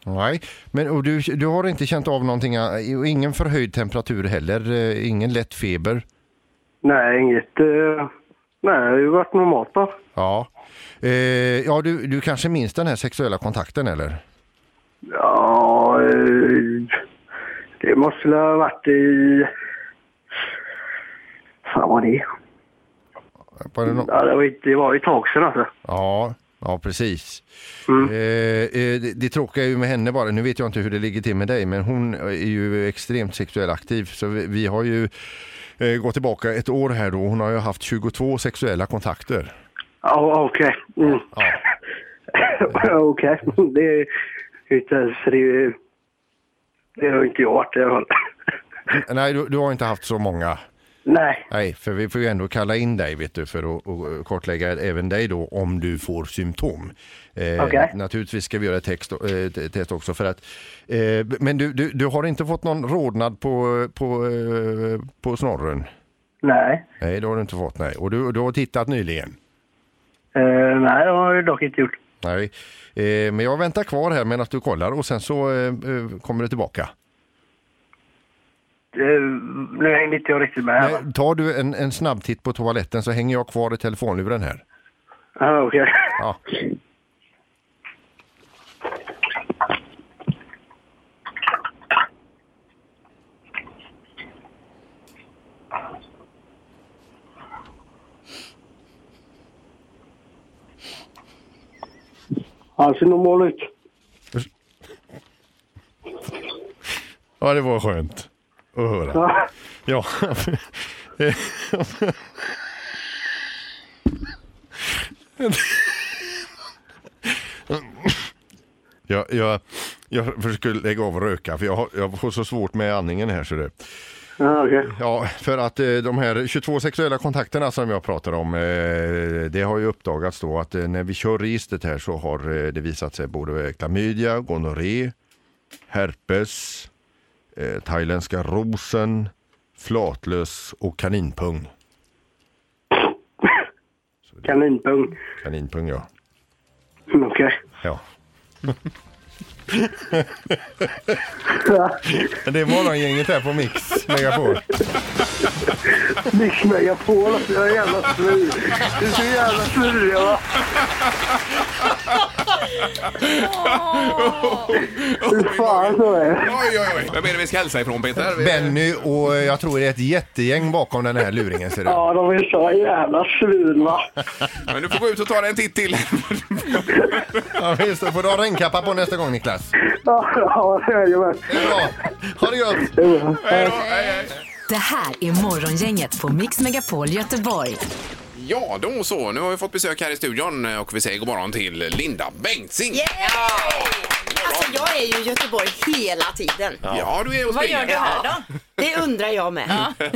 Speaker 4: Nej, men och du, du har inte känt av någonting, eh, och ingen förhöjd temperatur heller, eh, ingen lätt feber?
Speaker 6: Nej, inget. Eh, nej, det har ju varit normalt då.
Speaker 4: Ja, eh, ja du, du kanske minns den här sexuella kontakten eller?
Speaker 6: Ja, eh, det måste väl ha varit i... Fan vad det är.
Speaker 4: Var det nå-
Speaker 6: Ja, det, var, ju- det var ju ett tag sedan alltså.
Speaker 4: Ja, ja precis. Eh, eh, det, det tråkiga är ju med henne bara, nu vet jag inte hur det ligger till med dig, men hon är ju extremt sexuellt aktiv. Så vi, vi har ju eh, gått tillbaka ett år här då, hon har ju haft 22 sexuella kontakter.
Speaker 6: Ja, okej. Mm.
Speaker 4: Ja.
Speaker 6: okej, det är ju inte ens... Det, är- det har ju inte jag varit i alla fall.
Speaker 4: Nej, du, du har inte haft så många.
Speaker 6: Nej,
Speaker 4: Nej, för vi får ju ändå kalla in dig vet du, för att och kartlägga även dig då om du får symptom. Eh,
Speaker 6: Okej.
Speaker 4: Naturligtvis ska vi göra ett text, eh, t- test också. För att, eh, men du, du, du har inte fått någon rodnad på, på, eh, på snorren?
Speaker 6: nej.
Speaker 4: Nej, det har du inte fått. Nej. Och du, du har tittat nyligen?
Speaker 6: Eh, nej, det har jag dock inte gjort.
Speaker 4: Nej. Eh, men jag väntar kvar här medan du kollar och sen så eh, eh, kommer du tillbaka.
Speaker 6: Eh, nu hängde inte jag riktigt med. här, va?
Speaker 4: Nej, tar du en, en snabbtitt på toaletten så hänger jag kvar i telefonluren här.
Speaker 6: Ja, okej.
Speaker 4: Ja.
Speaker 6: Han ser normal ut.
Speaker 4: ja, det var skönt att höra.
Speaker 6: Ja.
Speaker 4: Ja. jag, jag, jag försöker lägga av och röka för jag har, jag har så svårt med andningen här. Så det.
Speaker 6: Ja, okej.
Speaker 4: Ja, för att eh, de här 22 sexuella kontakterna som jag pratar om, eh, det har ju uppdagats då att eh, när vi kör registret här så har eh, det visat sig både klamydia, gonorré, herpes, eh, thailändska rosen, flatlös och kaninpung.
Speaker 6: Kaninpung.
Speaker 4: Kaninpung ja.
Speaker 6: Mm, Okej.
Speaker 4: ja. det är morgongänget här på Mix Megapol.
Speaker 6: Mix Megapol alltså, jag är jävla slur. Du är så jävla slurig va. Fy fan så är det.
Speaker 2: Oj, oj, oj. Vem är det vi ska hälsa ifrån, Peter? Vi-
Speaker 4: Benny och eh, jag tror det är ett jättegäng bakom den här luringen ser det ut.
Speaker 6: Ja, de är så jävla svin va.
Speaker 2: Men du får gå ut och ta en titt till.
Speaker 4: Ja, visst, då får du ha regnkappa på nästa gång Niklas.
Speaker 6: Ja, ja, jajamän.
Speaker 4: Det är bra. Ha det gött!
Speaker 2: Hej då, hej, hej.
Speaker 1: Det här är Morgongänget på Mix Megapol Göteborg.
Speaker 2: Ja, då så. Nu har vi fått besök här i studion eh, och vi säger god morgon till Linda Bengtzing.
Speaker 10: Alltså jag är ju i Göteborg hela tiden.
Speaker 2: Ja, du är och
Speaker 10: Vad gör du
Speaker 2: springer.
Speaker 10: här då? Det undrar jag med.
Speaker 2: Ja.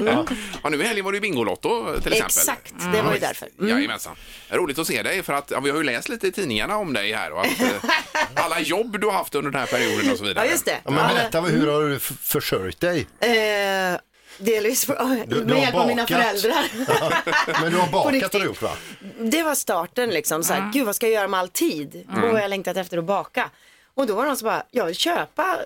Speaker 2: Ja, nu i helgen var det ju Bingolotto till exempel.
Speaker 10: Exakt, det var ju därför. Mm.
Speaker 2: Jajamensan. Roligt att se dig för att ja, vi har ju läst lite i tidningarna om dig här och att, eh, alla jobb du har haft under den här perioden och så vidare.
Speaker 10: Ja just det.
Speaker 7: Ja, men berätta, hur har du f- försörjt dig?
Speaker 10: Eh, Delvis på,
Speaker 4: du har
Speaker 10: Eh, med hjälp av mina
Speaker 4: bakat.
Speaker 10: föräldrar.
Speaker 4: Men du har
Speaker 10: På
Speaker 4: bakat har
Speaker 10: riktigt.
Speaker 4: du gjort va?
Speaker 10: Det var starten liksom, så här, gud vad ska jag göra med all tid?
Speaker 4: Mm.
Speaker 10: Och jag längtat efter att baka. Och då var det någon som bara, jag vill köpa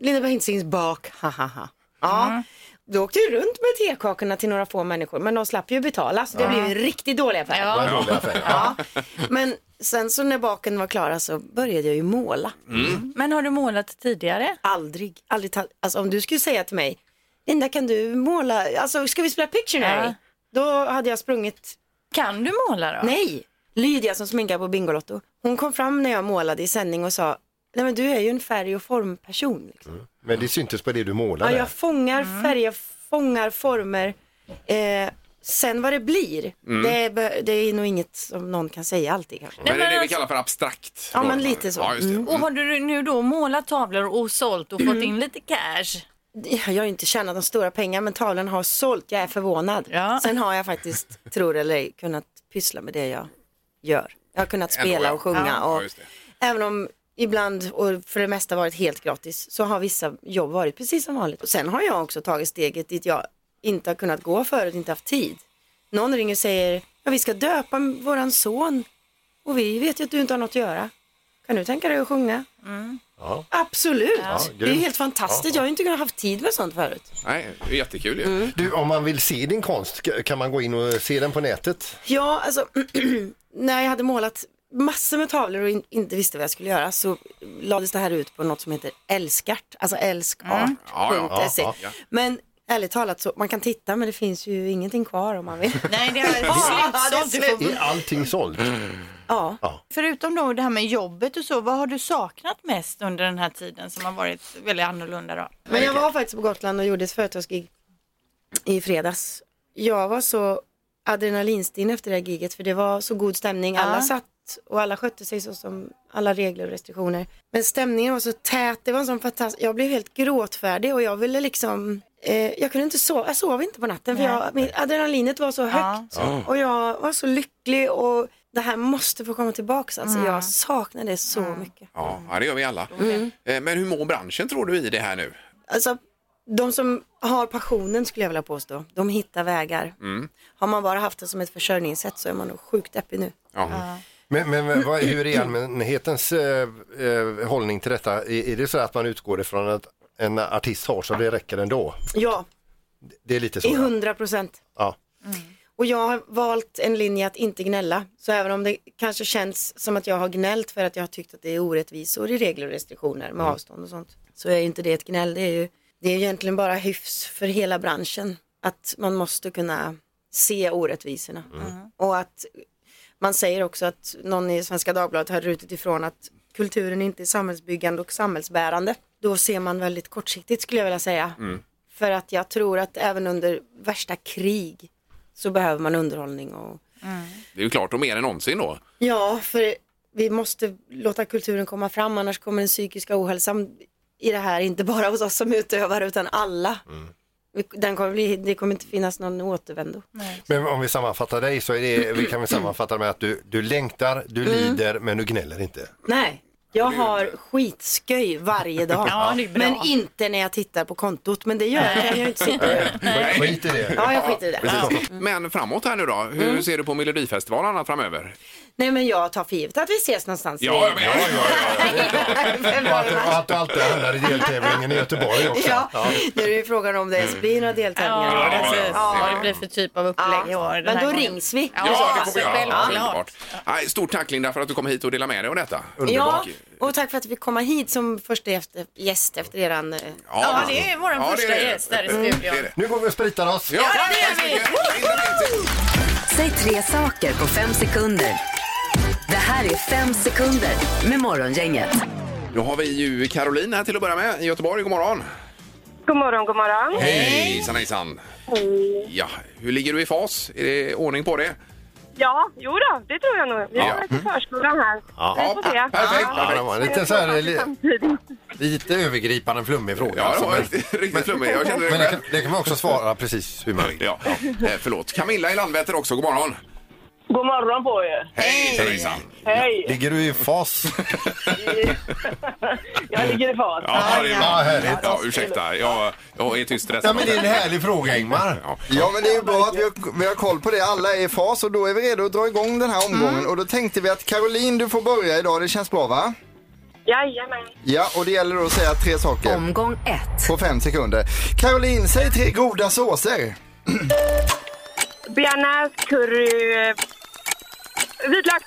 Speaker 10: Linda Bengtzings bak, ha ha ha. Ja, då åkte jag runt med tekakorna till några få människor, men de slapp ju betala, så det
Speaker 11: Ja.
Speaker 10: blev ju en riktigt dålig affär.
Speaker 11: Ja. Det var en dålig affär,
Speaker 10: Ja. Men sen så när baken var klara så började jag ju måla. Men har du målat tidigare? Aldrig, aldrig. tal- Alltså om du skulle säga till mig, Linda kan du måla, alltså ska vi spela Pictionary?
Speaker 11: Ja.
Speaker 10: Då hade jag sprungit. Kan du måla då? Nej, Lydia som sminkar på Bingolotto, hon kom fram när jag målade i sändning och sa, nej men du är ju en färg och formperson.
Speaker 4: Men det syntes på det du
Speaker 10: Ja,
Speaker 4: målade.
Speaker 10: jag fångar
Speaker 3: Mm.
Speaker 10: färger, fångar former. Eh, sen vad det blir,
Speaker 2: Mm.
Speaker 10: det, be- det är nog inget som någon kan säga alltid kanske.
Speaker 2: Men det är det vi kallar för abstrakt.
Speaker 10: alltså- Ja, men lite så.
Speaker 2: Ja, just det.
Speaker 10: Mm.
Speaker 11: Och har du nu då målat tavlor och sålt och fått in lite cash?
Speaker 10: Jag har inte tjänat de stora pengar men tavlan har sålt, jag är förvånad. Sen har jag faktiskt, tror eller ej, kunnat pyssla med det jag gör. Jag har kunnat
Speaker 11: Ändå,
Speaker 10: spela
Speaker 11: ja.
Speaker 10: och sjunga
Speaker 11: Ja.
Speaker 10: och
Speaker 11: Ja, just det.
Speaker 10: även om ibland och för det mesta varit helt gratis så har vissa jobb varit precis som vanligt. Och sen har jag också tagit steget dit jag inte har kunnat gå förut, inte haft tid. Någon ringer och säger, ja vi ska döpa våran son och vi vet ju att du inte har något att göra. Kan du tänka dig att sjunga?
Speaker 2: Ja.
Speaker 10: Absolut,
Speaker 2: Mm. Ja,
Speaker 10: det är ju
Speaker 2: grymt.
Speaker 10: helt fantastiskt.
Speaker 2: Ja.
Speaker 10: Jag har ju inte kunnat haft tid med sånt förut.
Speaker 2: Nej, det är jättekul ju.
Speaker 10: Mm.
Speaker 4: Du, om man vill se din konst, ska- kan man gå in och se den på nätet?
Speaker 10: Ja, alltså när jag hade målat massor med tavlor och in, inte visste vad jag skulle göra så lades det här ut på något som heter älskart, alltså älskart.se.
Speaker 11: Mm. Ja, ja, ja.
Speaker 10: Men ärligt talat så man kan titta men det finns ju ingenting kvar om man vill.
Speaker 3: Nej, det här är slutsålt. Du får-
Speaker 4: Är allting sålt?
Speaker 10: Ja.
Speaker 3: Förutom då det här med jobbet och så, vad har du saknat mest under den här tiden som har varit väldigt annorlunda då?
Speaker 10: Men jag var faktiskt på Gotland och gjorde ett företagsgig i fredags. Jag var så adrenalinstinn efter det här giget för det var så god stämning. Alla
Speaker 11: Ja.
Speaker 10: satt och alla skötte sig så som alla regler och restriktioner. Men stämningen var så tät, det var en sån fantastisk, jag blev helt gråtfärdig och jag ville liksom Eh, jag kunde inte sova, jag sov inte på natten för
Speaker 11: Nej.
Speaker 10: jag, min, adrenalinet var så högt
Speaker 11: Ja.
Speaker 10: och jag var så lycklig och det här måste få komma tillbaka. Alltså,
Speaker 11: Mm.
Speaker 10: Jag saknar det så mycket.
Speaker 2: Ja, ja, det gör vi alla.
Speaker 10: Mm.
Speaker 2: Eh, Men hur mår branschen tror du i det här nu?
Speaker 10: Alltså, de som har passionen skulle jag vilja påstå, de hittar vägar.
Speaker 2: Mm.
Speaker 10: Har man bara haft det som ett försörjningssätt så är man nog sjukt deppig nu.
Speaker 2: Ja.
Speaker 4: Men, men vad, hur är allmänhetens eh, eh, hållning till detta? Är, är det så att man utgår ifrån att en artist har så det räcker ändå?
Speaker 10: Ja,
Speaker 4: Det är lite så?
Speaker 10: i
Speaker 4: ja.
Speaker 10: hundra procent.
Speaker 4: Ja.
Speaker 10: Och jag har valt en linje att inte gnälla. Så även om det kanske känns som att jag har gnällt för att jag har tyckt att det är orättvisor i regler och restriktioner med
Speaker 11: Mm.
Speaker 10: avstånd och sånt. Så är ju inte det ett gnäll. Det är ju det är egentligen bara hyfs för hela branschen. Att man måste kunna se orättvisorna.
Speaker 4: Mm.
Speaker 10: Och att man säger också att någon i Svenska Dagbladet har rutit ifrån att kulturen inte är samhällsbyggande och samhällsbärande. Då ser man väldigt kortsiktigt skulle jag vilja säga. För att jag tror att även under värsta krig så behöver man underhållning och
Speaker 2: Det är ju klart och mer än någonsin då.
Speaker 10: ja, för vi måste låta kulturen komma fram annars kommer den psykiska ohälsan i det här, inte bara hos oss som utövare utan alla. Den kommer bli, det kommer inte finnas någon återvändo.
Speaker 4: Men om vi sammanfattar dig så är det, vi kan vi sammanfatta med att du, du längtar, du
Speaker 10: Mm.
Speaker 4: lider men du gnäller inte.
Speaker 10: Nej, jag har skitsköj varje dag.
Speaker 4: Ja, det är bra.
Speaker 10: men inte när jag tittar på kontot, men det gör jag. jag gör inte sitter
Speaker 4: Skit i det.
Speaker 10: Ja, jag skiter i det.
Speaker 2: Precis. Men framåt här nu då, hur
Speaker 10: Mm.
Speaker 2: ser du på Melodifestivalen och annat framöver?
Speaker 10: Nej, men jag tar för givet att vi ses någonstans.
Speaker 2: Ja, ja, ja,
Speaker 4: Och att, och att du alltid hamnar i deltävlingen i Göteborg också.
Speaker 10: Ja, nu är det ju frågan om det ens blir några deltävlingar.
Speaker 4: Ja,
Speaker 10: i år.
Speaker 4: precis.
Speaker 10: Ja.
Speaker 11: Vad det blir för typ av upplägg i år. den
Speaker 10: Men
Speaker 11: här
Speaker 10: då
Speaker 11: gången.
Speaker 10: rings vi.
Speaker 11: Ja,
Speaker 2: det får vi göra. Ja, underbart. Nej, Stort tack Linda för att du kom hit och delade med dig av detta.
Speaker 10: Ja, och tack för att vi fick komma hit som första efter, gäst efter eran... eh,
Speaker 2: Ja, det är vår Ja, det första är det. gäst här i studion. Det är det.
Speaker 4: Nu går vi och spritar oss.
Speaker 2: Ja, det gör vi!
Speaker 1: Säg tre saker på fem sekunder. Det här är fem sekunder med Morgongänget.
Speaker 2: Då har vi ju Caroline här till att börja med i Göteborg. God morgon!
Speaker 12: God morgon, god morgon.
Speaker 2: Hejsan hejsan!
Speaker 12: Hej.
Speaker 2: Ja, hur ligger du i fas? Är det ordning på det?
Speaker 12: Ja, jo då, det tror jag nog. Vi
Speaker 2: Ja.
Speaker 12: har varit i förskolan här.
Speaker 2: Ja.
Speaker 12: Vi får se.
Speaker 2: Perfekt,
Speaker 4: Ja, det var en liten så här, li- lite övergripande flummig fråga.
Speaker 2: Ja, det
Speaker 4: alltså,
Speaker 2: var riktigt, riktigt flummig. Jag känner det
Speaker 4: men det,
Speaker 2: själv.
Speaker 4: kan, det kan man också svara precis hur man vill.
Speaker 2: Ja. Eh, Förlåt. Camilla i Landvetter också, god morgon.
Speaker 13: God morgon på er!
Speaker 2: Hej Hejsan!
Speaker 13: Hej!
Speaker 4: Ligger du i fas?
Speaker 13: Jag ligger i fas.
Speaker 2: Ja, det är
Speaker 4: Ja,
Speaker 2: bra.
Speaker 4: härligt.
Speaker 2: Ja, ursäkta, jag, jag är tyst stressad.
Speaker 4: Ja, men det är en härlig fråga, Ingmar.
Speaker 7: Ja, men det är ju bra att vi har, vi har koll på det. Alla är i fas och då är vi redo att dra igång den här omgången. Och då tänkte vi att Caroline, du får börja idag. Det känns bra va?
Speaker 8: Jajamän.
Speaker 7: Ja, och det gäller då att säga tre saker.
Speaker 1: Omgång ett.
Speaker 7: På fem sekunder. Caroline, säg tre goda såser.
Speaker 12: Bearnaise, curry, eh, vitlök.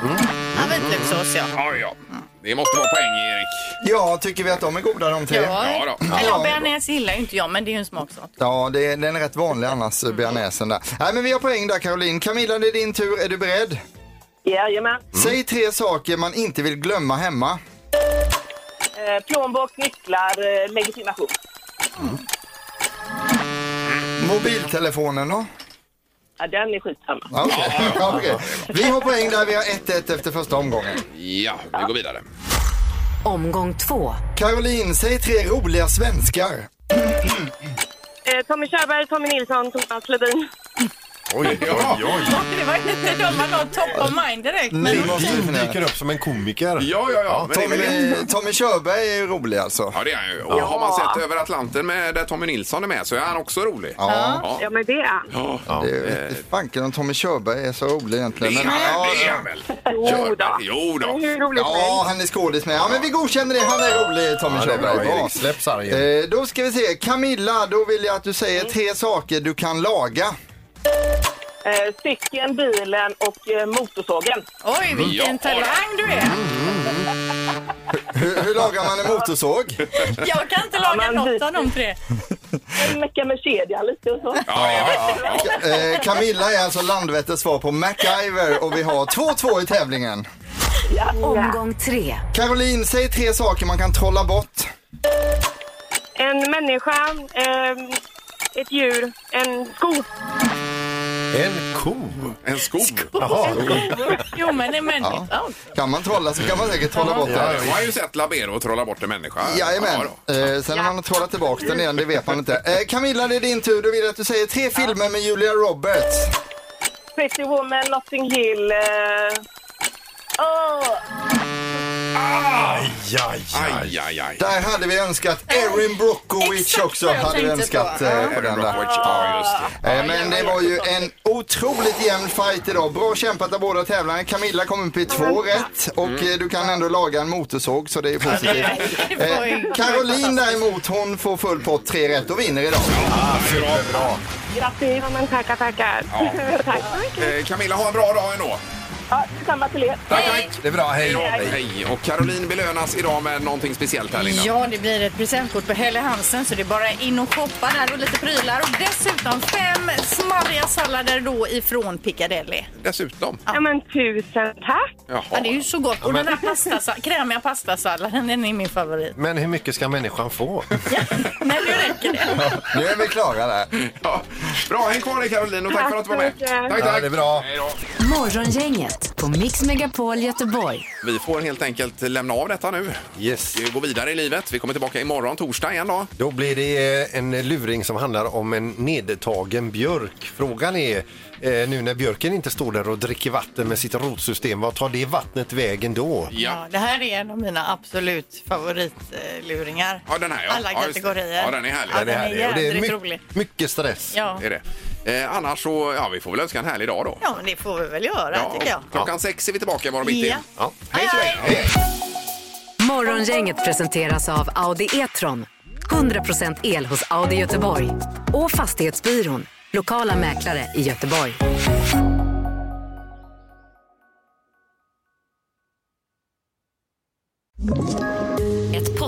Speaker 3: Ja, vitlökssås ja.
Speaker 2: Ja, ja. Det måste vara poäng, Erik.
Speaker 7: Ja, tycker vi att de är goda de tre?
Speaker 3: Ja, eller bearnaise gillar ju inte jag, men det är ju en smaksak.
Speaker 7: Ja, det är, den är rätt vanlig annars, eh, bearnaisen där. Nej, men vi har poäng där Caroline. Camilla, det är din tur. Är du beredd?
Speaker 13: Jajamän.
Speaker 7: Säg tre saker man inte vill glömma hemma.
Speaker 13: Eh, Plånbok, nycklar, eh, legitimation.
Speaker 7: Mobiltelefonen då?
Speaker 13: Ja, den är skitsamma.
Speaker 7: Ja, okej. Ja, okej. Vi har poäng där. Vi har 1-1 efter första omgången.
Speaker 2: Ja, vi går vidare.
Speaker 1: Omgång två.
Speaker 7: Caroline, säg tre roliga svenskar.
Speaker 12: Eh, Tommy Körberg, Tommy Nilsson, Thomas Ledin.
Speaker 4: Oj, oj, oj.
Speaker 3: Det var inte de man har top of mind direkt. men-
Speaker 4: Lundin dyker upp som en komiker.
Speaker 2: Ja, ja, ja. Men det är
Speaker 7: Tommy,
Speaker 2: väl-
Speaker 7: Tommy Körberg är ju rolig alltså.
Speaker 2: Ja, det är han ju. Och har man sett Över Atlanten med, där Tommy Nilsson är med så är han också rolig.
Speaker 7: Ja.
Speaker 2: ja.
Speaker 12: men det är han.
Speaker 2: ja.
Speaker 7: Det är ju fanken om Tommy Körberg är så rolig egentligen.
Speaker 2: eh, Det är
Speaker 7: Men-
Speaker 2: han,
Speaker 7: ja,
Speaker 2: det är han väl?
Speaker 12: Jo då.
Speaker 2: Jo då.
Speaker 12: Hur roligt
Speaker 7: Ja, han är skådis med. Ja, men vi godkänner det. Han är rolig, Tommy
Speaker 4: Ja, det är bra,
Speaker 7: Körberg. Bra.
Speaker 4: Erik. Släpp sargen.
Speaker 7: Eh, då ska vi se. Camilla, då vill jag att du säger tre saker du kan laga.
Speaker 13: Eh, cykeln, bilen och eh, motorsågen.
Speaker 3: Oj, vilken
Speaker 2: Ja,
Speaker 3: talang du är!
Speaker 7: Hur, hur lagar man en motorsåg?
Speaker 3: Jag kan inte laga något av de tre.
Speaker 13: En mecka med kedja lite och så.
Speaker 2: Mm. Ja, ja, ja.
Speaker 7: Eh, Camilla är alltså Landvetters svar på MacGyver och vi har 2-2 i tävlingen.
Speaker 1: Omgång tre.
Speaker 7: Caroline, säg tre saker man kan trolla bort.
Speaker 12: En människa, ehm, ett djur, en sko.
Speaker 4: En ko.
Speaker 2: En sko.
Speaker 4: Jaha.
Speaker 3: Jo, men det är människa.
Speaker 7: Kan man trolla så kan man säkert trolla bort
Speaker 2: Ja,
Speaker 7: det.
Speaker 2: Jag har ju sett Labero trolla bort en människa.
Speaker 7: Jajamän.
Speaker 2: Ja, då.
Speaker 7: Eh, sen om man har trollat tillbaka den igen, det vet man inte. Eh, Camilla, det är din tur. Du vill jag att du säger tre filmer med Julia Roberts.
Speaker 13: Pretty Woman, Notting Hill. Eh, åh,
Speaker 4: Jaj, jaj.
Speaker 2: Aj, aj, aj.
Speaker 7: Där hade vi önskat
Speaker 2: Eh,
Speaker 7: Erin Brockovich
Speaker 3: Exakt
Speaker 7: också.
Speaker 3: vad jag
Speaker 7: Hade vi
Speaker 3: tänkte
Speaker 7: önskat
Speaker 3: på.
Speaker 7: eh,
Speaker 2: Är
Speaker 7: på
Speaker 2: det
Speaker 7: den
Speaker 2: Rock
Speaker 7: där.
Speaker 2: Watch? Ja, just det.
Speaker 7: Eh, Men det var ju en otroligt jämn fight idag. Bra kämpat av båda tävlarna. Camilla kom upp i två rätt och eh, du kan ändå laga en motorsåg så det är ju positivt. Eh, Caroline däremot hon får full pott, tre rätt och vinner idag.
Speaker 12: grattis! Ja, men tackar, tackar. Tack så mycket.
Speaker 2: Eh, Camilla, ha en bra dag ändå.
Speaker 13: Ja, detsamma till er.
Speaker 2: Tack, tack.
Speaker 4: Det är bra,
Speaker 2: Hej
Speaker 4: hej.
Speaker 2: då. Hej. Och Caroline belönas idag med någonting speciellt här, Linda.
Speaker 3: Ja, det blir ett presentkort på Helle Hansen så det är bara in och shoppa där och lite prylar och dessutom fem smarriga sallader då ifrån Piccadilly.
Speaker 2: Dessutom.
Speaker 12: Ja, men tusen tack.
Speaker 2: Jaha.
Speaker 3: Ja, det är ju så gott. Och den här pastasall- krämiga pastasalladen, den är min favorit.
Speaker 4: Men hur mycket ska människan få?
Speaker 3: Men nu räcker det.
Speaker 7: Nu är vi klara där.
Speaker 2: Ja. Bra, häng kvar dig Caroline och tack för att du var med.
Speaker 12: Tack så mycket.
Speaker 2: Tack,
Speaker 4: Ja,
Speaker 2: tack.
Speaker 4: det är bra.
Speaker 2: Hej då.
Speaker 1: Morgongänget på Mix Megapol Göteborg.
Speaker 2: Vi får helt enkelt lämna av detta nu.
Speaker 4: Yes.
Speaker 2: Vi går vidare i livet. Vi kommer tillbaka imorgon, torsdag igen då.
Speaker 4: Då blir det eh, en luring som handlar om en nedtagen björk. Frågan är, eh, nu när björken inte står där och dricker vatten med sitt rotsystem, vad tar det vattnet vägen då?
Speaker 2: Ja.
Speaker 3: Ja, det här är en av mina absolut favoritluringar.
Speaker 2: Ja, den här ja.
Speaker 3: Alla
Speaker 2: Ja, just det.
Speaker 3: kategorier.
Speaker 2: Ja, den är härlig.
Speaker 3: Ja,
Speaker 2: Den
Speaker 3: den är
Speaker 4: härlig och det är
Speaker 3: jädrigt
Speaker 4: my-
Speaker 3: rolig.
Speaker 4: mycket stress.
Speaker 3: Ja.
Speaker 2: Det är det. Eh, annars så, ja vi får väl önska en härlig dag då.
Speaker 3: ja, men det får vi väl göra tycker jag.
Speaker 2: och Klockan sex är vi tillbaka imorgon bitti.
Speaker 3: Ja.
Speaker 4: Ja.
Speaker 3: Hej, hej.
Speaker 1: Morgongänget presenteras av Audi E-tron. 100% el hos Audi Göteborg. Och Fastighetsbyrån. Lokala mäklare i Göteborg. Ett